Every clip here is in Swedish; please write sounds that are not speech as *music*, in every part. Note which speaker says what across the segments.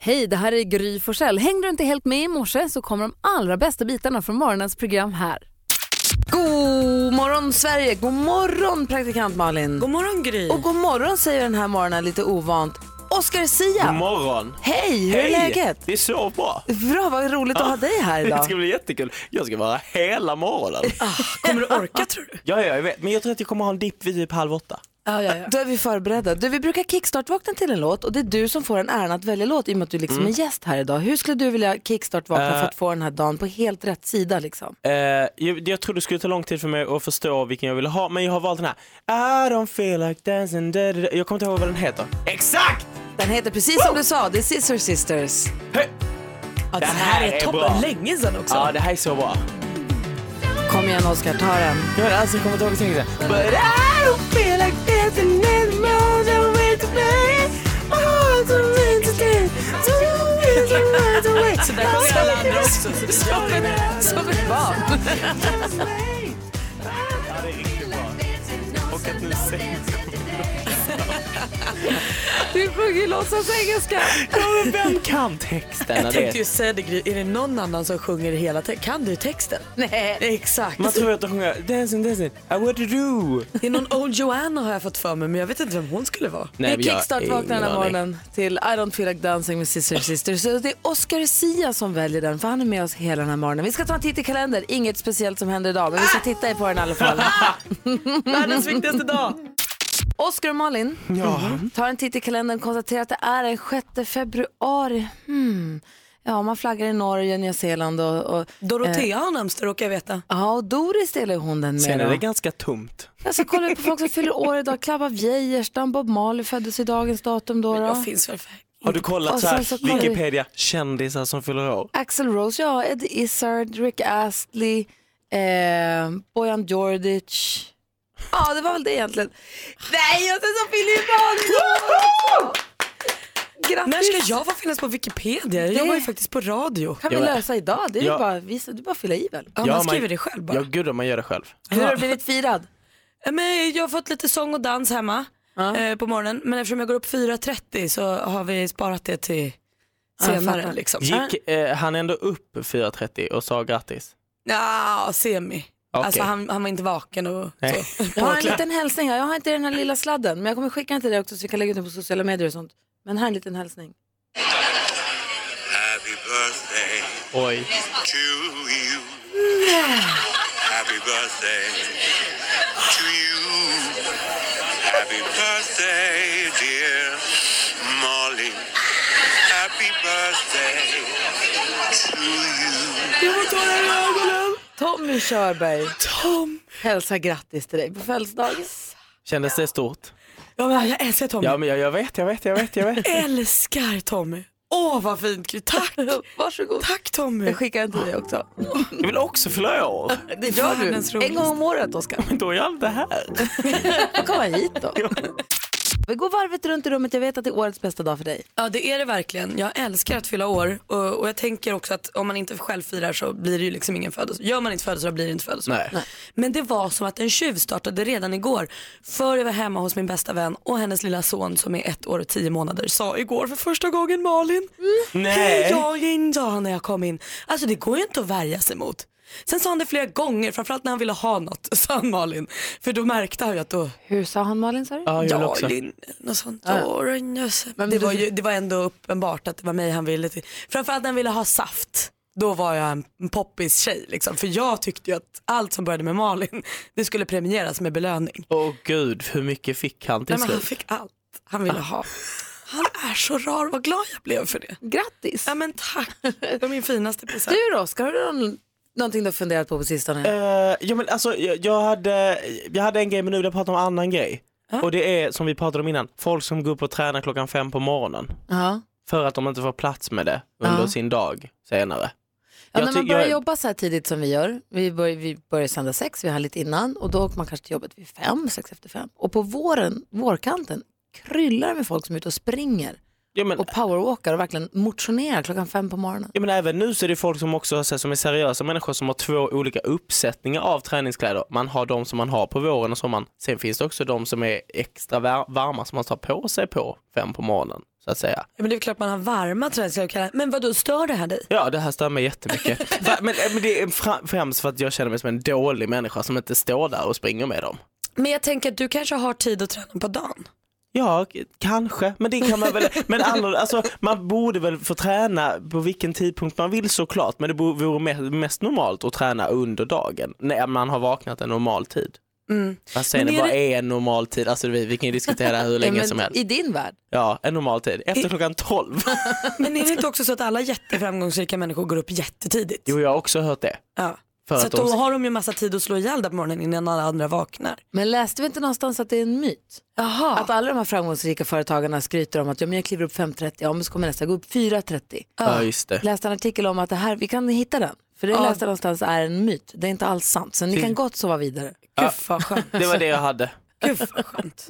Speaker 1: Hej, det här är Gry Forssell. Hängde du inte helt med i morse så kommer de allra bästa bitarna från morgonens program här.
Speaker 2: God morgon Sverige, god morgon praktikant Malin.
Speaker 3: God morgon Gry.
Speaker 2: Och god morgon säger den här morgonen lite ovant. Oscar Sia.
Speaker 4: God morgon.
Speaker 2: Hej, hur är
Speaker 4: Hej.
Speaker 2: läget?
Speaker 4: Det är så bra.
Speaker 2: Bra, vad roligt att ha dig här
Speaker 4: *laughs* Det
Speaker 2: idag.
Speaker 4: ska bli jättekul. Jag ska vara här hela morgonen.
Speaker 3: Kommer du *laughs* orka tror du?
Speaker 4: Ja, ja, jag vet. Men jag tror att jag kommer ha en dipp vid typ halv åtta.
Speaker 3: Ja, ja, ja.
Speaker 2: Då är vi förberedda. Du, vi brukar kickstart-vakna till en låt och det är du som får den äran att välja låt i och med att du
Speaker 4: Mm.
Speaker 2: liksom är gäst här idag. Hur skulle du vilja kickstart-vakna för att få den här dagen på helt rätt sida liksom?
Speaker 4: Eh, jag, jag tror det skulle ta lång tid för mig att förstå vilken jag ville ha, men jag har valt den här. I don't feel like dancing. Da, da, da. Jag kommer inte ihåg vad den heter. Exakt!
Speaker 2: Den heter precis som du sa, det är Scissor Sisters.
Speaker 4: Hej.
Speaker 3: Ja, det
Speaker 4: här
Speaker 3: här
Speaker 4: är
Speaker 3: är
Speaker 4: bra.
Speaker 3: toppen. liksom. Länge sedan också.
Speaker 4: Ja, det här är så bra.
Speaker 2: Kom igen Oscar, ta den.
Speaker 4: Jag har alltså kommit ihåg texten. But I don't feel like dancing anymore. Don't wait to play. My heart's a meant to dance. Don't wait to run away.
Speaker 3: Så där kommer alla andra också. Så *laughs* det gör ju det.
Speaker 2: Som ett barn.
Speaker 4: Ja, det är riktigt bra. Och att nu sänks
Speaker 2: Du sjunger låtsas engelska.
Speaker 4: Ja, men vem kan texten?
Speaker 3: Jag tänkte ju säga det Gry, är det någon annan som sjunger hela texten? Kan du texten?
Speaker 2: *laughs* Nej.
Speaker 3: Exakt.
Speaker 4: Man tror att de sjunger dancing, dancing, I want to do.
Speaker 3: Det är någon old Joanna har jag fått för mig men jag vet inte vem hon skulle vara.
Speaker 4: Nej,
Speaker 2: vi
Speaker 4: men jag har
Speaker 2: kickstart-vaknar den här
Speaker 4: ingen aning.
Speaker 2: morgonen till I don't feel like dancing med Sister Sisters. Så det är Oscar Sia som väljer den, för han är med oss hela den här morgonen. Vi ska ta en titt i kalendern. Inget speciellt som händer idag, men vi ska titta på den i alla fall.
Speaker 3: Världens viktigaste dag.
Speaker 4: *laughs*
Speaker 2: Oscar och Malin Mhm. tar en titt i kalendern och konstaterar att det är den 6 februari. Hmm. Ja, man flaggar i Norge, Nya Zeeland och... och
Speaker 3: Dorotea har namnsdag råkar jag veta.
Speaker 2: ja, och Doris delar ju hon den med.
Speaker 4: Sen är
Speaker 2: då.
Speaker 4: det ganska tomt.
Speaker 2: Jag ska kolla på folk som fyller år idag. Klabba av Geijerstam, Bob Marley föddes i dagens datum då. då.
Speaker 3: Jag finns väl för...
Speaker 4: Har du kollat
Speaker 2: Och
Speaker 4: så
Speaker 2: sen
Speaker 4: här,
Speaker 2: så kollar vi-
Speaker 4: Wikipedia, kändisar som fyller år?
Speaker 2: Axel Rose, ja, Ed Izzard, Rick Astley, eh, Bojan Djordjic. Ja, det var väl det egentligen. Nej, och sen så fyller ju barn Grattis!
Speaker 3: När ska jag få finnas på Wikipedia? Jag
Speaker 2: Det-
Speaker 3: jobbar ju faktiskt på radio.
Speaker 2: kan vi
Speaker 4: Jag-
Speaker 2: lösa idag. Det är
Speaker 4: Ja.
Speaker 2: ju bara, vi, du bara fylla i väl.
Speaker 3: Ja, man skriver det själv bara.
Speaker 4: Ja, gud om man gör det själv.
Speaker 2: Hur har du blivit firad?
Speaker 3: Ja, Men jag har fått lite sång och dans hemma eh, på morgonen men eftersom jag går upp 4.30 så har vi sparat det till senare.
Speaker 2: fattar.
Speaker 3: liksom.
Speaker 4: Gick eh, han ändå upp 4.30 och sa grattis?
Speaker 3: Ja, semi.
Speaker 4: Okej.
Speaker 3: Alltså han, han var inte vaken och
Speaker 4: Nej.
Speaker 3: så. *laughs*
Speaker 2: Jag har en liten hälsning här. Jag har inte den här lilla sladden, men jag kommer skicka den till dig också så vi kan lägga ut den på sociala medier och sånt. Men här är en liten hälsning.
Speaker 5: Happy birthday
Speaker 4: Oj.
Speaker 5: to you. Happy birthday to you. Happy birthday, dear Molly. Happy birthday to you.
Speaker 2: Tommy Körberg. Tom. Hälsa grattis till dig på födelsedagen.
Speaker 4: Kändes det stort?
Speaker 3: Ja, men jag älskar Tommy.
Speaker 4: Ja, men jag, jag vet, jag vet, jag vet, jag vet.
Speaker 3: Älskar Tommy. Åh vad fint. *laughs* Tack.
Speaker 2: Varsågod.
Speaker 3: Tack Tommy.
Speaker 2: Jag skickar den till dig också.
Speaker 4: Jag vill också fylla år.
Speaker 2: Det gör
Speaker 3: Världens
Speaker 2: du. En gång om året, Oskar.
Speaker 4: Men då är allt det här.
Speaker 2: Då kommer jag hit då. Vi går varvet runt i rummet. Jag vet att det är årets bästa dag för dig.
Speaker 3: Ja det är det verkligen. Jag älskar att fylla år och, och jag tänker också att om man inte själv firar så blir det ju liksom ingen födelsedag. Gör man inte födelsedag blir det inte födelsedag.
Speaker 4: Nej. Nej.
Speaker 3: Men det var som att en tjuv startade redan igår. För jag var hemma hos min bästa vän och hennes lilla son som är ett år och tio månader sa igår för första gången Malin.
Speaker 4: Nej.
Speaker 3: "Hej, Jag in sa han när jag kom in. Alltså det går ju inte att värja sig mot. Sen sa han det flera gånger, framförallt när han ville ha något, *laughs* sa han Malin. För då märkte han ju att då
Speaker 2: Hur sa han Malin? Sa du?
Speaker 4: Ja, jag vill
Speaker 3: Ja,
Speaker 4: också.
Speaker 3: Linn, något sånt. Åh, Rönnjös.
Speaker 2: Men
Speaker 3: det,
Speaker 2: du-
Speaker 3: var ju, det var ändå uppenbart att det var mig han ville till. Framförallt när han ville ha saft. Då var jag en poppis-tjej liksom. För jag tyckte ju att allt som började med Malin, *laughs* det skulle premieras med belöning.
Speaker 4: Åh gud, hur mycket fick han till
Speaker 3: Nej, men han
Speaker 4: slut?
Speaker 3: fick allt han ville ha. Han är så rar, vad glad jag blev för det.
Speaker 2: Grattis.
Speaker 3: Ja men tack, det var min finaste present.
Speaker 2: Du då, Oskar? Har du någon, någonting du har funderat på på sistone?
Speaker 4: Eh, ja, men alltså, jag, jag, hade, jag hade en grej men nu vill jag prata om en annan grej. Och det är som vi pratade om innan, folk som går upp och tränar klockan fem på morgonen.
Speaker 2: Ja.
Speaker 4: För att de inte får plats med det under
Speaker 2: Ja.
Speaker 4: sin dag senare.
Speaker 2: Ja,
Speaker 4: Jag
Speaker 2: när man
Speaker 4: ty-
Speaker 2: börjar
Speaker 4: jag-
Speaker 2: jobba så här tidigt som vi gör, vi, bör, vi börjar sända sex, vi har lite innan och då åker man kanske till jobbet vid fem, sex efter fem. Och på våren, vårkanten, kryllar det med folk som är ute och springer.
Speaker 4: Ja, men,
Speaker 2: och powerwalkar och verkligen motionerar klockan fem på morgonen.
Speaker 4: ja, men även nu så är det folk som också har, så här, som är seriösa människor som har två olika uppsättningar av träningskläder. Man har de som man har på våren och sommaren. Sen finns det också de som är extra var- varma som man tar på sig på fem på morgonen. Så att säga.
Speaker 3: Ja, men det är klart man har varma träningskläder. Men vad då stör det här dig?
Speaker 4: Ja, det här stör mig *laughs* jättemycket. Va- men, eh, men det är fra- främst för att jag känner mig som en dålig människa som inte står där och springer med dem.
Speaker 3: Men jag tänker att du kanske har tid att träna på dagen.
Speaker 4: Ja, k- kanske, men det kan man väl, *laughs* men andra, alltså, man borde väl få träna på vilken tidpunkt man vill såklart, men det bo- vore me- mest normalt att träna under dagen, när man har vaknat en normal tid. Vad säger
Speaker 3: Men
Speaker 4: ni,
Speaker 3: är
Speaker 4: vad
Speaker 3: det-
Speaker 4: är en normal tid? Alltså vi, vi kan ju diskutera hur
Speaker 2: Ja,
Speaker 4: länge
Speaker 2: men
Speaker 4: som helst.
Speaker 2: I din värld.
Speaker 4: Ja, en normal tid, efter klockan 12.
Speaker 3: Men är det inte också så att alla jätteframgångsrika människor går upp jättetidigt?
Speaker 4: Jo, jag har också hört det.
Speaker 3: Ja.
Speaker 4: För
Speaker 3: så
Speaker 4: att
Speaker 3: att
Speaker 4: de-
Speaker 3: då har de ju massa tid att slå ihjäl där på morgonen innan alla andra vaknar.
Speaker 2: Men läste vi inte någonstans att det är en myt?
Speaker 3: Jaha.
Speaker 2: Att alla de här framgångsrika företagarna skryter om att ja, men jag kliver upp 5.30, ja men så kommer nästa gå upp 4.30.
Speaker 4: Ja, just det.
Speaker 2: Läste en artikel om att det här, vi kan hitta den. För det läste jag någonstans är en myt, det är inte alls sant. Så ni kan gott sova vidare.
Speaker 3: Gud vad skönt.
Speaker 4: Det var det jag hade.
Speaker 3: Gud vad
Speaker 4: *laughs*
Speaker 3: skönt.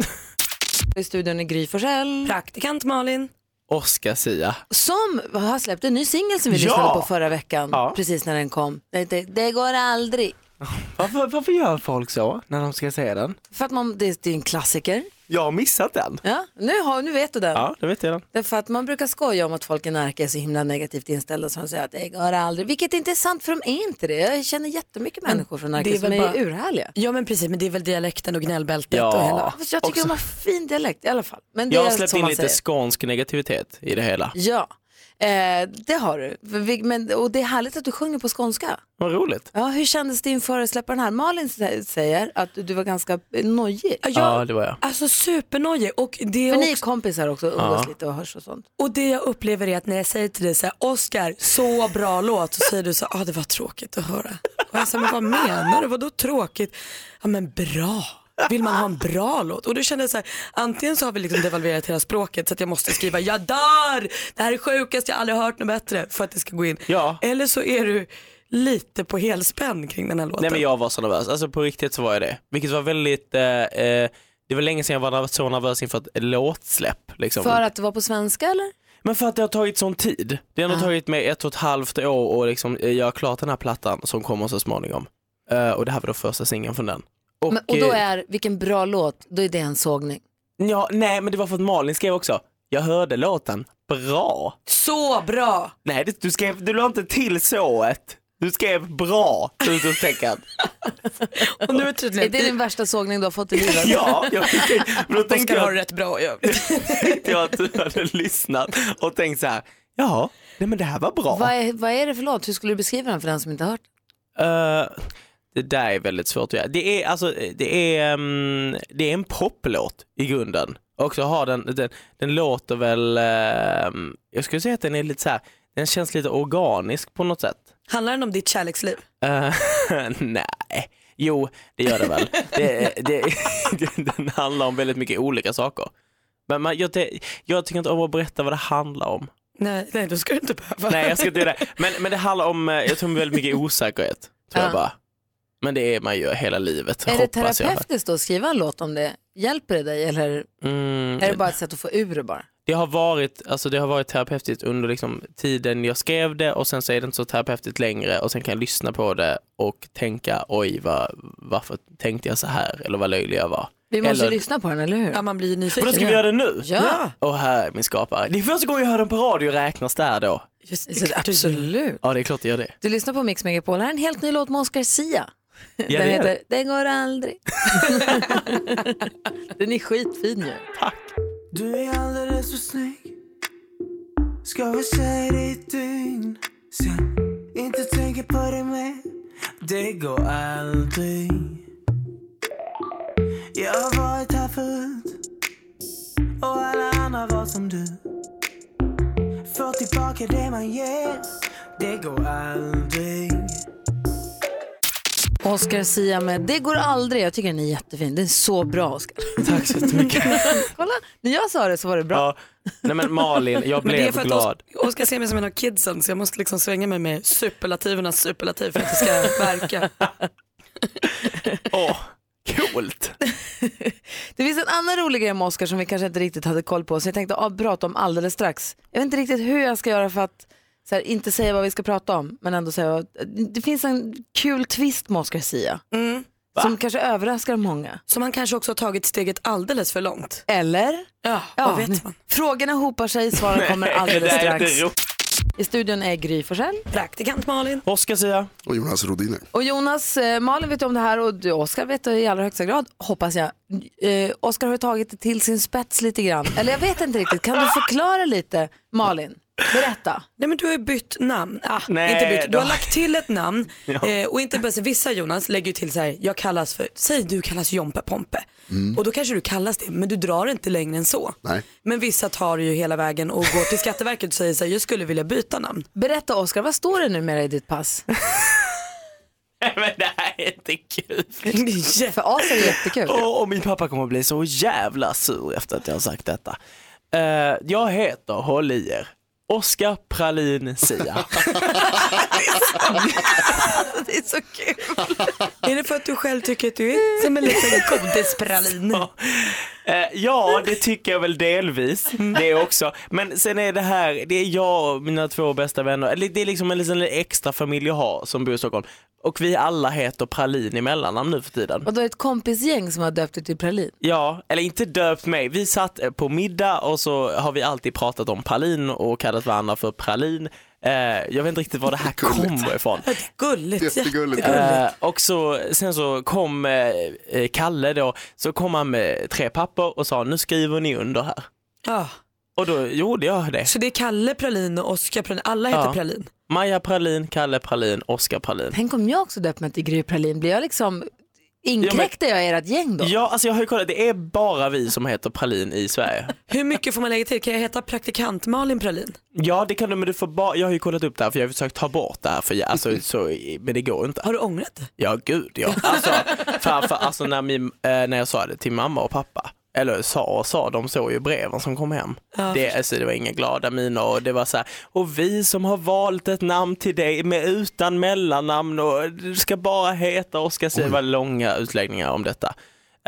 Speaker 2: I studion är Gry Forssell.
Speaker 3: Praktikant Malin.
Speaker 4: Oskar Sia.
Speaker 2: Som har släppt en ny singel som vi
Speaker 4: Ja!
Speaker 2: lyssnade på förra veckan.
Speaker 4: Ja.
Speaker 2: Precis när den kom. Det, det, det går aldrig.
Speaker 4: Varför, varför gör folk så när de ska se den?
Speaker 2: För att man, det, det är en klassiker.
Speaker 4: Jag har missat den.
Speaker 2: Ja, nu, har, nu vet du den.
Speaker 4: Ja, det vet jag den.
Speaker 2: Därför att man brukar skoja om att folk i Närke är så himla negativt inställda som säger att det går aldrig. Vilket inte är sant för de är inte det. Jag känner jättemycket människor från
Speaker 3: det
Speaker 2: Närke
Speaker 3: är
Speaker 2: som
Speaker 3: väl
Speaker 2: är
Speaker 3: bara-
Speaker 2: urhärliga.
Speaker 3: Ja men precis, men det är väl dialekten och gnällbältet
Speaker 4: Ja.
Speaker 3: och hela.
Speaker 2: Fast Jag tycker de har fin dialekt i alla fall. Men det
Speaker 4: Jag har
Speaker 2: är
Speaker 4: släppt
Speaker 2: som
Speaker 4: in
Speaker 2: man
Speaker 4: lite
Speaker 2: säger.
Speaker 4: skånsk negativitet i det hela.
Speaker 2: Ja, eh, det har du. För vi- Men, och det är härligt att du sjunger på skånska.
Speaker 4: Vad roligt.
Speaker 2: Ja, hur kändes det inför att släppa den här? Malin sä- säger att du var ganska eh, nojig.
Speaker 3: Ja,
Speaker 4: Ja, det var jag.
Speaker 3: Alltså supernojig och det,
Speaker 2: För
Speaker 3: jag
Speaker 2: ni är
Speaker 3: också,
Speaker 2: kompisar också och umgås
Speaker 4: Ja.
Speaker 2: lite och hörs och sånt.
Speaker 3: och det jag upplever är att när jag säger till dig så här, Oscar, så bra låt, så säger du så här, ah, det var tråkigt att höra. Och jag säger, men vad menar du, vadå tråkigt? Ja men bra. Vill man ha en bra låt? Och då kände jag så här, antingen så har vi liksom devalverat hela språket så att jag måste skriva jag dör, det här är sjukast, jag har aldrig hört något bättre för att det ska gå in.
Speaker 4: Ja.
Speaker 3: Eller så är du lite på helspänn kring den här låten.
Speaker 4: Nej men jag var så nervös, alltså på riktigt så var jag det. Vilket var väldigt, eh, eh, det var länge sedan jag var nerv- så nervös inför ett låtsläpp. Liksom.
Speaker 2: För att det var på svenska eller?
Speaker 4: Men för att det har tagit sån tid. Det har ändå tagit mig ett och ett halvt år att liksom, eh, göra klart den här plattan som kommer så småningom. Eh, och det här var då första singeln från den. Och,
Speaker 2: Men, och då
Speaker 4: eh,
Speaker 2: är, vilken bra låt, då är det en sågning.
Speaker 4: ja, nej men det var för att Malin skrev också, jag hörde låten, bra.
Speaker 3: Så bra!
Speaker 4: Nej det- du skrev, du la inte till sået. Du skrev bra, utropstecken.
Speaker 3: Och nu är tydligen,
Speaker 2: Är det din värsta sågning du har fått i livet?
Speaker 4: *laughs* *laughs* ja, jag, men då tänkte
Speaker 3: Oscar
Speaker 4: jag
Speaker 3: har det rätt bra i övrigt.
Speaker 4: tänkte jag att du *laughs* hade lyssnat och tänkt så här, jaha, nej men det här var bra.
Speaker 2: Vad, är, vad är det för låt? Hur skulle du beskriva den för den som inte har hört?
Speaker 4: Eh, det där är väldigt svårt att göra. Det är, alltså, det är, ehm, det är en poplåt i grunden. Och så har den, den, den låter väl, ehm, jag skulle säga att den är lite så här, den känns lite organisk på något sätt.
Speaker 3: Handlar den om ditt kärleksliv?
Speaker 4: Eh, *laughs* nej, jo det gör det väl. Det, det, *laughs* den handlar om väldigt mycket olika saker. Men man, jag, jag tycker inte om att berätta vad det handlar om.
Speaker 3: Nej, nej då ska du inte behöva.
Speaker 4: Nej jag ska inte göra det. Men, men det handlar om, eh, jag tror väldigt mycket osäkerhet. Tror jag
Speaker 2: Ja.
Speaker 4: bara. Men det är man ju hela livet.
Speaker 2: Är det
Speaker 4: hoppas jag.
Speaker 2: terapeutiskt då att skriva en låt om det? Hjälper det dig eller
Speaker 4: Mm,
Speaker 2: är det bara ett sätt att få ur det bara?
Speaker 4: det, har varit, alltså det har varit terapeutiskt under liksom tiden jag skrev det och sen så är det inte så terapeutiskt längre och sen kan jag lyssna på det och tänka oj vad, varför tänkte jag så här eller vad löjlig jag var.
Speaker 2: Vi måste
Speaker 4: Eller-
Speaker 2: ju lyssna på den, eller hur?
Speaker 3: Ja, man blir ju
Speaker 4: Och då
Speaker 3: nyfiken.
Speaker 4: ska vi göra det nu?
Speaker 2: Ja.
Speaker 4: Åh här är min skapare. Det är första gången jag hör den på radio räknas där då.
Speaker 3: Just,
Speaker 2: Så, absolut.
Speaker 4: Ja det är klart jag gör det.
Speaker 2: Du lyssnar på Mix Megapol, här är en helt ny låt med Oscar Sia.
Speaker 4: det
Speaker 2: den
Speaker 4: är
Speaker 2: heter Den går
Speaker 4: *laughs*
Speaker 2: aldrig. den är skitfin ju.
Speaker 6: Du är alldeles för snygg Ska vi säga det i ett dygn Sen inte tänka på dig mer Det går aldrig Jag har varit här förut Och alla andra var som du Får tillbaka det man ger Det går aldrig
Speaker 2: Oscar Sia med Det går aldrig. Jag tycker den är jättefin. Den är så bra Oscar.
Speaker 4: Tack så jättemycket.
Speaker 2: *laughs* Kolla, när jag sa det så var det bra.
Speaker 4: Ja. Nej men Malin,
Speaker 3: *laughs*
Speaker 4: jag
Speaker 3: Men det
Speaker 4: blev
Speaker 3: är för
Speaker 4: glad.
Speaker 3: att Os- Oskar ser mig som en av kidsen så jag måste liksom svänga mig med superlativernas *laughs* superlativ för att det ska verka.
Speaker 4: Åh, coolt!
Speaker 2: det finns en annan rolig grej med Oscar som vi kanske inte riktigt hade koll på, så jag tänkte ah, prata om alldeles strax. Jag vet inte riktigt hur jag ska göra för att så här, inte säga vad vi ska prata om, men ändå säga vad- det finns en kul twist med Oscar Sia. Som kanske överraskar många.
Speaker 3: Mm. Som han kanske också har tagit steget alldeles för långt.
Speaker 2: Eller?
Speaker 3: Ja, vad vet man?
Speaker 2: Frågorna hopar sig, svaren kommer
Speaker 4: *laughs*
Speaker 2: alldeles
Speaker 4: Det är
Speaker 2: strax.
Speaker 4: inte roligt.
Speaker 2: I studion är Gry Forssell.
Speaker 3: Praktikant Malin.
Speaker 4: Oskar säger,
Speaker 7: Och Jonas Rodiner.
Speaker 2: Och Jonas, eh, Malin vet ju om det här och du, Oskar vet det i allra högsta grad, hoppas jag. Eh, Oskar har ju tagit det till sin spets lite grann. Eller jag vet inte riktigt, kan du förklara lite? Malin, berätta.
Speaker 3: Nej men du har ju bytt namn. Ah,
Speaker 4: Nej,
Speaker 3: inte bytt. Du har
Speaker 4: då-
Speaker 3: lagt till ett *laughs* namn. eh, och inte bara så, vissa Jonas lägger ju till så här, jag kallas för, säg du kallas Jompe Pompe. Och då kanske du kallas det, men du drar inte längre än så.
Speaker 7: Nej.
Speaker 3: Men vissa tar det ju hela vägen och går till Skatteverket och säger så här, jag skulle vilja byta namn.
Speaker 2: Berätta Oskar, vad står det numera i ditt pass?
Speaker 4: *laughs* nej men det här är inte kul.
Speaker 2: För As är det *laughs* jättekul.
Speaker 4: Och, och min pappa kommer bli så jävla sur efter att jag har sagt detta. Eh, jag heter, håll i er, Oskar Pralin Sia.
Speaker 2: Det är så kul.
Speaker 3: *laughs* Är det för att du själv tycker att du är som en *laughs* liten godispralin?
Speaker 4: Eh, ja, det tycker jag väl delvis. Det också. Men sen är det här, det är jag och mina två bästa vänner, eller det är liksom en liten extra familj jag har som bor i Stockholm. Och vi alla heter Pralin i mellannamn nu för tiden.
Speaker 2: Och då är det ett kompisgäng som har döpt det till Pralin.
Speaker 4: Ja, eller inte döpt mig. Vi satt eh, på middag och så har vi alltid pratat om pralin och kallat varandra för pralin. Eh, jag vet inte riktigt var det här
Speaker 7: Gulligt.
Speaker 4: kommer ifrån.
Speaker 3: Gulligt.
Speaker 7: *laughs* Jättegulligt.
Speaker 4: Eh, och så, sen så kom eh, eh, Kalle då, så kom han med tre papper och sa nu skriver ni under här.
Speaker 3: Ja.
Speaker 4: Och då gjorde jag det.
Speaker 3: Så det är Kalle Pralin och Oskar Pralin, alla heter
Speaker 4: Ja.
Speaker 3: Pralin.
Speaker 4: Maja Pralin, Kalle Pralin, Oskar Pralin.
Speaker 2: Tänk om jag också döpt mig till Gry Pralin, blir jag liksom, inkräktar jag ert gäng då?
Speaker 4: Ja, alltså jag har ju kollat, det är bara vi som heter Pralin i Sverige.
Speaker 3: Hur mycket får man lägga till? Kan jag heta praktikant Malin Pralin?
Speaker 4: Ja, det kan du, men du får bara, jag har ju kollat upp det här för jag har försökt ta bort det här, för jag, alltså, så, men det går inte.
Speaker 3: Har du ångrat det?
Speaker 4: Ja, gud ja. *laughs* Alltså, farfar, alltså när, min, eh, när jag sa det till mamma och pappa, eller sa och sa, de såg ju breven som kom hem. det, alltså, det var inga glada miner och det var så här, och vi som har valt ett namn till dig med utan mellannamn och du ska bara heta Oskar Sia. Det var långa utläggningar om detta.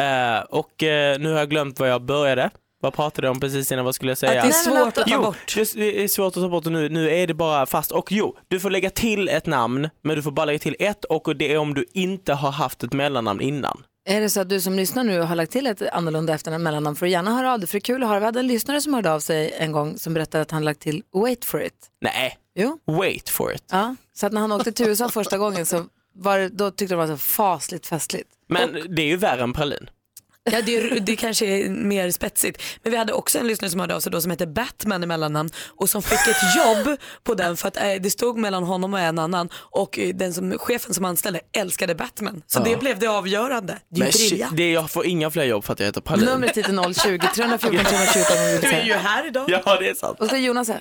Speaker 4: Eh, och eh, nu har jag glömt vad jag började. Vad pratade jag om precis innan, vad skulle jag
Speaker 3: Att
Speaker 4: säga?
Speaker 3: det är
Speaker 2: Nej, men
Speaker 3: svårt att ta
Speaker 4: Jo,
Speaker 3: bort?
Speaker 4: det det är svårt att ta bort det nu. Nu är det bara fast. Och jo, du får lägga till ett namn, men du får bara lägga till ett och det är om du inte har haft ett mellannamn innan.
Speaker 2: Är det så att du som lyssnar nu har lagt till ett annorlunda efternamn mellannamn får du gärna höra av dig för det är kul att höra. Vi hade en lyssnare som hörde av sig en gång som berättade att han lagt till wait for it.
Speaker 4: Nej,
Speaker 2: Jo.
Speaker 4: wait for it.
Speaker 2: Ja. Så att när han åkte till USA första gången så var det, då tyckte de det var så fasligt festligt.
Speaker 4: Men det är ju värre än pralin.
Speaker 3: Ja, det, är, det kanske är mer spetsigt. Men vi hade också en lyssnare som hörde av sig då som hette Batman i mellannamn och som fick ett jobb på den för att eh, det stod mellan honom och en annan och eh, den som, chefen som anställde älskade Batman. Så det blev det avgörande. Det är
Speaker 4: Men
Speaker 3: ju
Speaker 4: shit,
Speaker 3: briljant.
Speaker 4: det är, jag får inga fler jobb för att jag heter pralin.
Speaker 2: Numret hit är 020-314 314 om du vill säga.
Speaker 3: här idag.
Speaker 4: *laughs* Ja, det är sant.
Speaker 2: Och så Jonas här.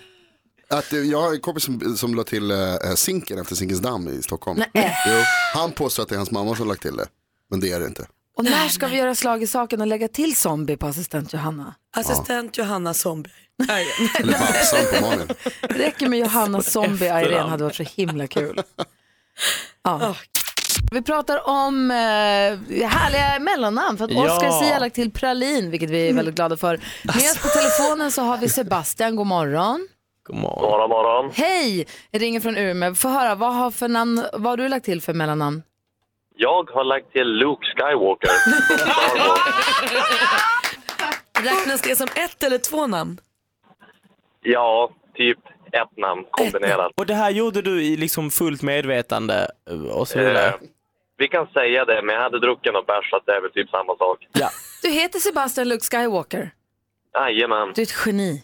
Speaker 7: Att, eh, jag har en kompis som, som la till eh, Zinken efter Zinkensdamm i Stockholm.
Speaker 2: Nej.
Speaker 7: Jo, han påstår att det är hans mamma som lagt till det, men det är det inte.
Speaker 2: Och när ska vi göra slag i saken och lägga till zombie på assistent Johanna?
Speaker 3: Assistent Johanna Zombie.
Speaker 7: Eller Babsan på Malin.
Speaker 2: Det räcker med
Speaker 4: *laughs*
Speaker 2: Johanna Zombie Irene
Speaker 4: efternamn.
Speaker 2: hade varit så himla
Speaker 4: *laughs*
Speaker 2: kul. Ja. Vi pratar om eh, härliga mellannamn för att
Speaker 4: Ja.
Speaker 2: Oscar Zia har lagt till pralin vilket vi är väldigt glada för. Med oss på telefonen så har vi Sebastian, god morgon.
Speaker 4: God morgon.
Speaker 2: Hej, jag ringer från Umeå. Få höra, vad har, för namn, vad har du lagt till för mellannamn?
Speaker 8: Jag har lagt till Luke Skywalker.
Speaker 3: Räknas det som ett eller två namn?
Speaker 8: ja, typ ett namn kombinerat.
Speaker 4: Och det här gjorde du i liksom fullt medvetande eh, och så
Speaker 8: Eh,
Speaker 4: vidare.
Speaker 8: vi kan säga det, men jag hade druckit någon bärs så att det är väl typ samma sak.
Speaker 2: Du heter Sebastian Luke Skywalker.
Speaker 8: Jajamän.
Speaker 2: Du är ett geni.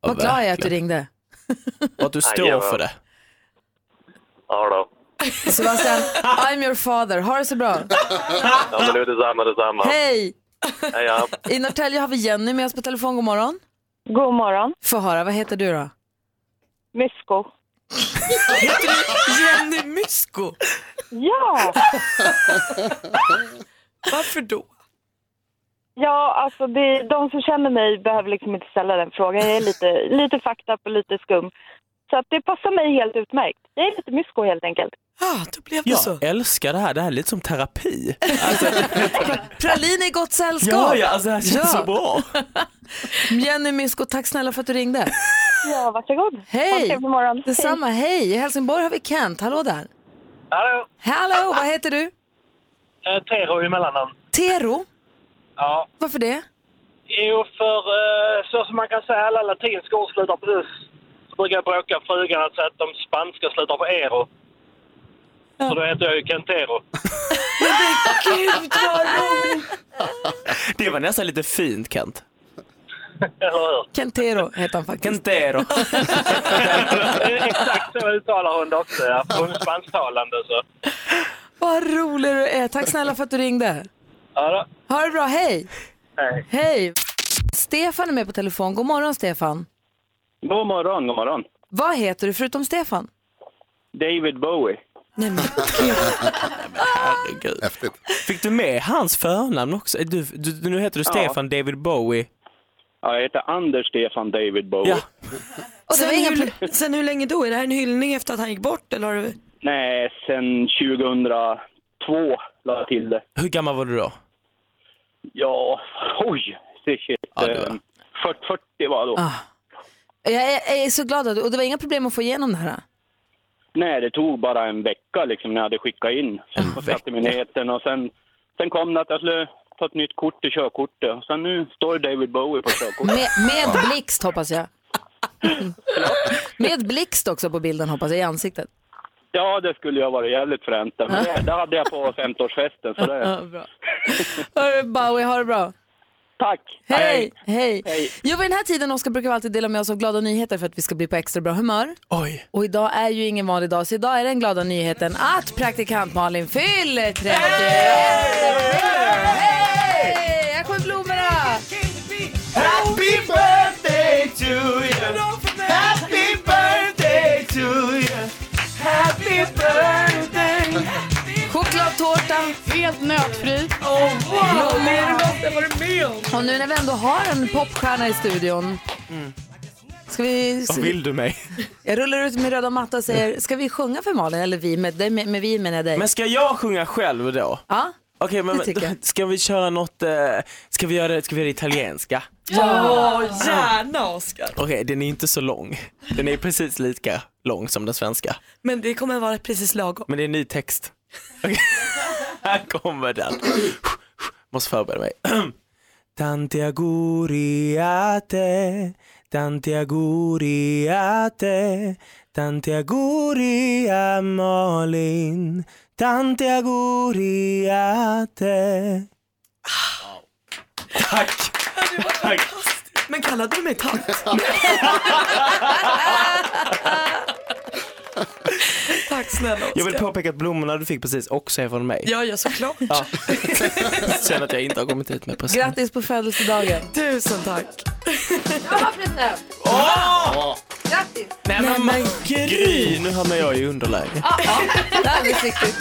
Speaker 2: Vad
Speaker 4: Ja,
Speaker 2: glad jag är att du
Speaker 4: verkligen.
Speaker 2: ringde.
Speaker 4: Och att du står
Speaker 8: Jajamän.
Speaker 4: för det.
Speaker 8: Ja då.
Speaker 4: *laughs*
Speaker 2: Sebastian, I'm your father. Ha det så bra.
Speaker 8: Ja, men nu är detsamma, detsamma.
Speaker 2: Hej!
Speaker 8: Hej, ja.
Speaker 2: I Norrtälje har vi Jenny med oss på telefon. God morgon.
Speaker 9: God morgon.
Speaker 2: Få höra, vad heter du då?
Speaker 9: Mysko.
Speaker 3: Jenny Mysko.
Speaker 9: Ja!
Speaker 3: Varför då?
Speaker 9: Ja, alltså det, de som känner mig behöver liksom inte ställa den frågan. Jag är lite, lite fucked up och lite skum. Så Så att det passar mig helt utmärkt. Jag är lite mysko helt enkelt.
Speaker 3: Ja, då blev det
Speaker 4: Jag
Speaker 3: så.
Speaker 4: älskar det här, det här är lite som terapi.
Speaker 2: Pralin är i gott sällskap.
Speaker 4: Ja, ja, alltså det här känns
Speaker 2: Ja.
Speaker 4: så bra.
Speaker 2: Jenny Mysko, tack snälla för att du ringde.
Speaker 9: Ja, varsågod. Ha en
Speaker 2: Hej!
Speaker 9: trevlig morgon.
Speaker 2: Detsamma, hej! I Helsingborg har vi Kent, hallå där.
Speaker 8: Hallå!
Speaker 2: Hallå, vad heter du?
Speaker 8: Eh, Tero i mellannamn.
Speaker 2: Tero,
Speaker 8: Ja.
Speaker 2: varför det?
Speaker 8: Jo, för eh, så som man kan säga alla latinska ord slutar på us. Så brukar jag bråka frugan att säga att de spanska slutar på ero. Så då heter jag ju Kentero.
Speaker 4: Det var nästan lite fint Kent.
Speaker 8: Eller hur? *laughs*
Speaker 2: Kentero heter han faktiskt. *laughs*
Speaker 4: Kentero.
Speaker 8: Eh, Exakt så uttalar hon det också, ja. Hon är spansktalande så.
Speaker 2: Vad rolig du är, tack snälla för att du ringde.
Speaker 8: Ja, då.
Speaker 2: Ha det bra, hej!
Speaker 8: Hej.
Speaker 2: Hej! Stefan är med på telefon, god morgon Stefan.
Speaker 8: God morgon, god morgon.
Speaker 2: Vad heter du förutom Stefan?
Speaker 8: David Bowie.
Speaker 3: Nej, *laughs* men,
Speaker 4: Herregud.
Speaker 7: Häftigt.
Speaker 4: Fick du med hans förnamn också? Du, du, nu heter du Stefan David Bowie.
Speaker 8: Ja, jag heter Anders Stefan David Bowie.
Speaker 2: Oh.
Speaker 4: Ja.
Speaker 2: Och det
Speaker 3: sen,
Speaker 2: var inga pl-
Speaker 3: hur, sen hur länge då? Är det här en hyllning efter att han gick bort? Eller har du...
Speaker 8: Nej, sen 2002 la jag till det.
Speaker 4: Hur gammal var du då?
Speaker 8: Ja, oj! shit, Shit.
Speaker 4: Ja, det var-
Speaker 8: Ehm, 40, 40 var jag då.
Speaker 2: Ah. jag, är, jag är så glad att du, och det var inga problem att få igenom det här.
Speaker 8: Nej, det tog bara en vecka liksom, när jag hade skickat in. Sen på skattemyndigheten och sen, sen kom det att jag skulle ta ett nytt kort till körkortet. Och Sen nu står det David Bowie på körkortet.
Speaker 2: Med, med blixt hoppas jag. Med blixt också på bilden hoppas jag, i ansiktet.
Speaker 8: Ja, det skulle ju ha varit jävligt fränt. Men det, det hade jag på 50-årsfesten. Så det,
Speaker 2: bra. Hörru, Bowie, ha det bra.
Speaker 8: tack!
Speaker 2: Hej! Hej!
Speaker 8: Hej.
Speaker 2: Jo, vid den här tiden, Oskar, brukar vi alltid dela med oss av glada nyheter för att vi ska bli på extra bra humör.
Speaker 4: Oj.
Speaker 2: Och idag är ju ingen vanlig dag, så idag är den glada nyheten att praktikant Malin fyller 30! Hej! Här kommer blommorna!
Speaker 4: Happy birthday to you! Happy birthday to you! Happy birthday!
Speaker 2: Chokladtårta!
Speaker 10: Helt nötfri.
Speaker 4: Oh,
Speaker 2: Och nu när vi ändå har en popstjärna i studion. Ska vi...
Speaker 4: Mm. Vad vill du mig?
Speaker 2: Jag rullar ut min röda matta och säger, ska vi sjunga för Malin? Eller vi, med, dig- med, med vi menar jag dig.
Speaker 4: Men ska jag sjunga själv då?
Speaker 2: Ja?
Speaker 4: Okej, men
Speaker 2: Det tycker jag.
Speaker 4: ska vi köra något, eh, ska vi göra, ska vi göra det italienska?
Speaker 3: Gärna Oscar.
Speaker 4: Okej, den är inte så lång. Den är precis lika lång som den svenska.
Speaker 3: Men det kommer vara precis lagom.
Speaker 4: Men det är en ny text. *laughs* Okej. Här kommer den. Måste förbereda mig. *clears throat* Tanti auguri a te, tanti auguri a te, tanti auguri a Malin, tanti auguri a te. Tack! Tack!
Speaker 3: Men kallade du mig *laughs* tant? Tack snälla
Speaker 4: Jag vill
Speaker 3: Oscar.
Speaker 4: påpeka att blommorna du fick precis också är från *laughs* mig.
Speaker 3: Ja, ja såklart.
Speaker 4: Jag känner att jag inte har kommit hit med present.
Speaker 2: Grattis på födelsedagen.
Speaker 3: Tusen tack.
Speaker 4: Nej men, Gry! Nu hamnar jag i underläge.
Speaker 2: Det är alldeles riktigt.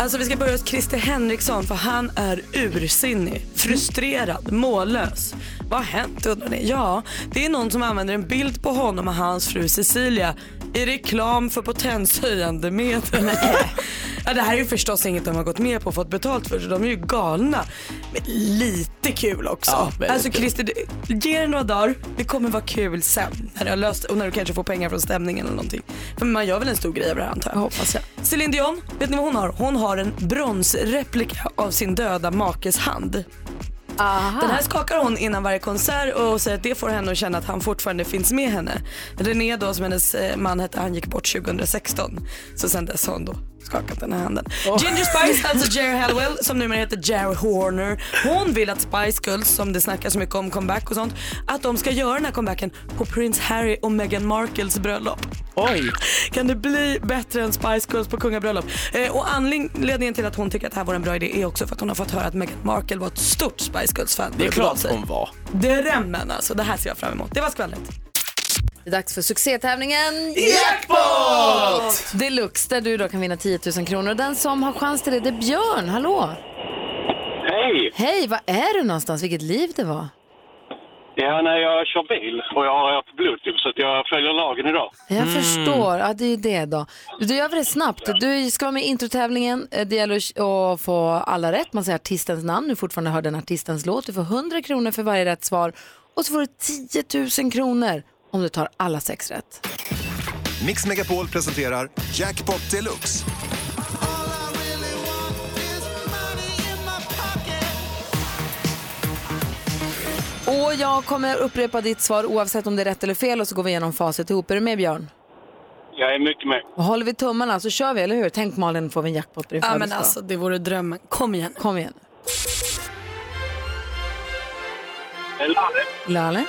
Speaker 3: Alltså vi ska börja hos Christer Henriksson för han är ursinnig, frustrerad, mållös. Vad har hänt undrar ni? Ja, det är någon som använder en bild på honom och hans fru Cecilia i reklam för potenshöjande medel. *laughs* ja, det här är ju förstås inget de har gått med på och fått betalt för så de är ju galna. Men lite kul också.
Speaker 4: Ja, väldigt
Speaker 3: alltså Christer, det- ge det några dagar. Det kommer vara kul sen när det har löst och när du kanske får pengar från stämningen eller någonting. För man gör väl en stor grej av det här antar jag.
Speaker 2: Hoppas jag.
Speaker 3: Céline Dion, vet ni vad hon har? Hon har en bronsreplika av sin döda makes hand. Den här skakar hon innan varje konsert och säger att det får henne att känna att han fortfarande finns med henne. René då, som hennes eh, man hette, han gick bort 2016. Så sen dess har hon då skakat den här handen. Ginger Spice, alltså Jerry Hallowell, som numera heter Jerry Horner. Hon vill att Spice Girls, som det snackas mycket om comeback och sånt, att de ska göra den här comebacken på Prince Harry och Meghan Markles bröllop.
Speaker 4: Oj!
Speaker 3: Kan det bli bättre än Spice Girls på kungabröllop? Eh, och anledningen till att hon tycker att det här var en bra idé är också för att hon har fått höra att Meghan Markle var ett stort Spice Girls-fan.
Speaker 4: Det är klart hon var.
Speaker 3: Drömmen alltså, det här ser jag fram emot. Det var skvallret.
Speaker 2: Det är dags för succétävlingen Jackpot! Deluxe där du då kan vinna 10 000 kronor. Och den som har chans till det, det är Björn. Hallå!
Speaker 8: Hej!
Speaker 2: Hej, var är du någonstans? Vilket liv det var.
Speaker 8: Ja, nej, jag kör bil och jag har på Bluetooth så att jag följer lagen idag.
Speaker 2: Jag förstår. Ja, det är ju det då. Du gör väl det snabbt. Du ska vara med i introtävlingen. Eh, Det gäller att- att få alla rätt. Man säger artistens namn. Du fortfarande hör den artistens låt. Du får 100 kronor för varje rätt svar. Och så får du 10 000 kronor om du tar alla sex rätt.
Speaker 10: Mix Megapol presenterar Jackpot Deluxe.
Speaker 2: Och jag kommer upprepa ditt svar oavsett om det är rätt eller fel och så går vi igenom facit ihop. Är du med Björn?
Speaker 8: Jag är mycket med.
Speaker 2: Och håller vi tummarna så kör vi, eller hur? Tänk Malin får vi en jackpot på din
Speaker 3: Ja men
Speaker 2: födelsedag.
Speaker 3: alltså det vore drömmen. Kom igen.
Speaker 2: Kom igen.
Speaker 8: Lalle,
Speaker 2: Lale?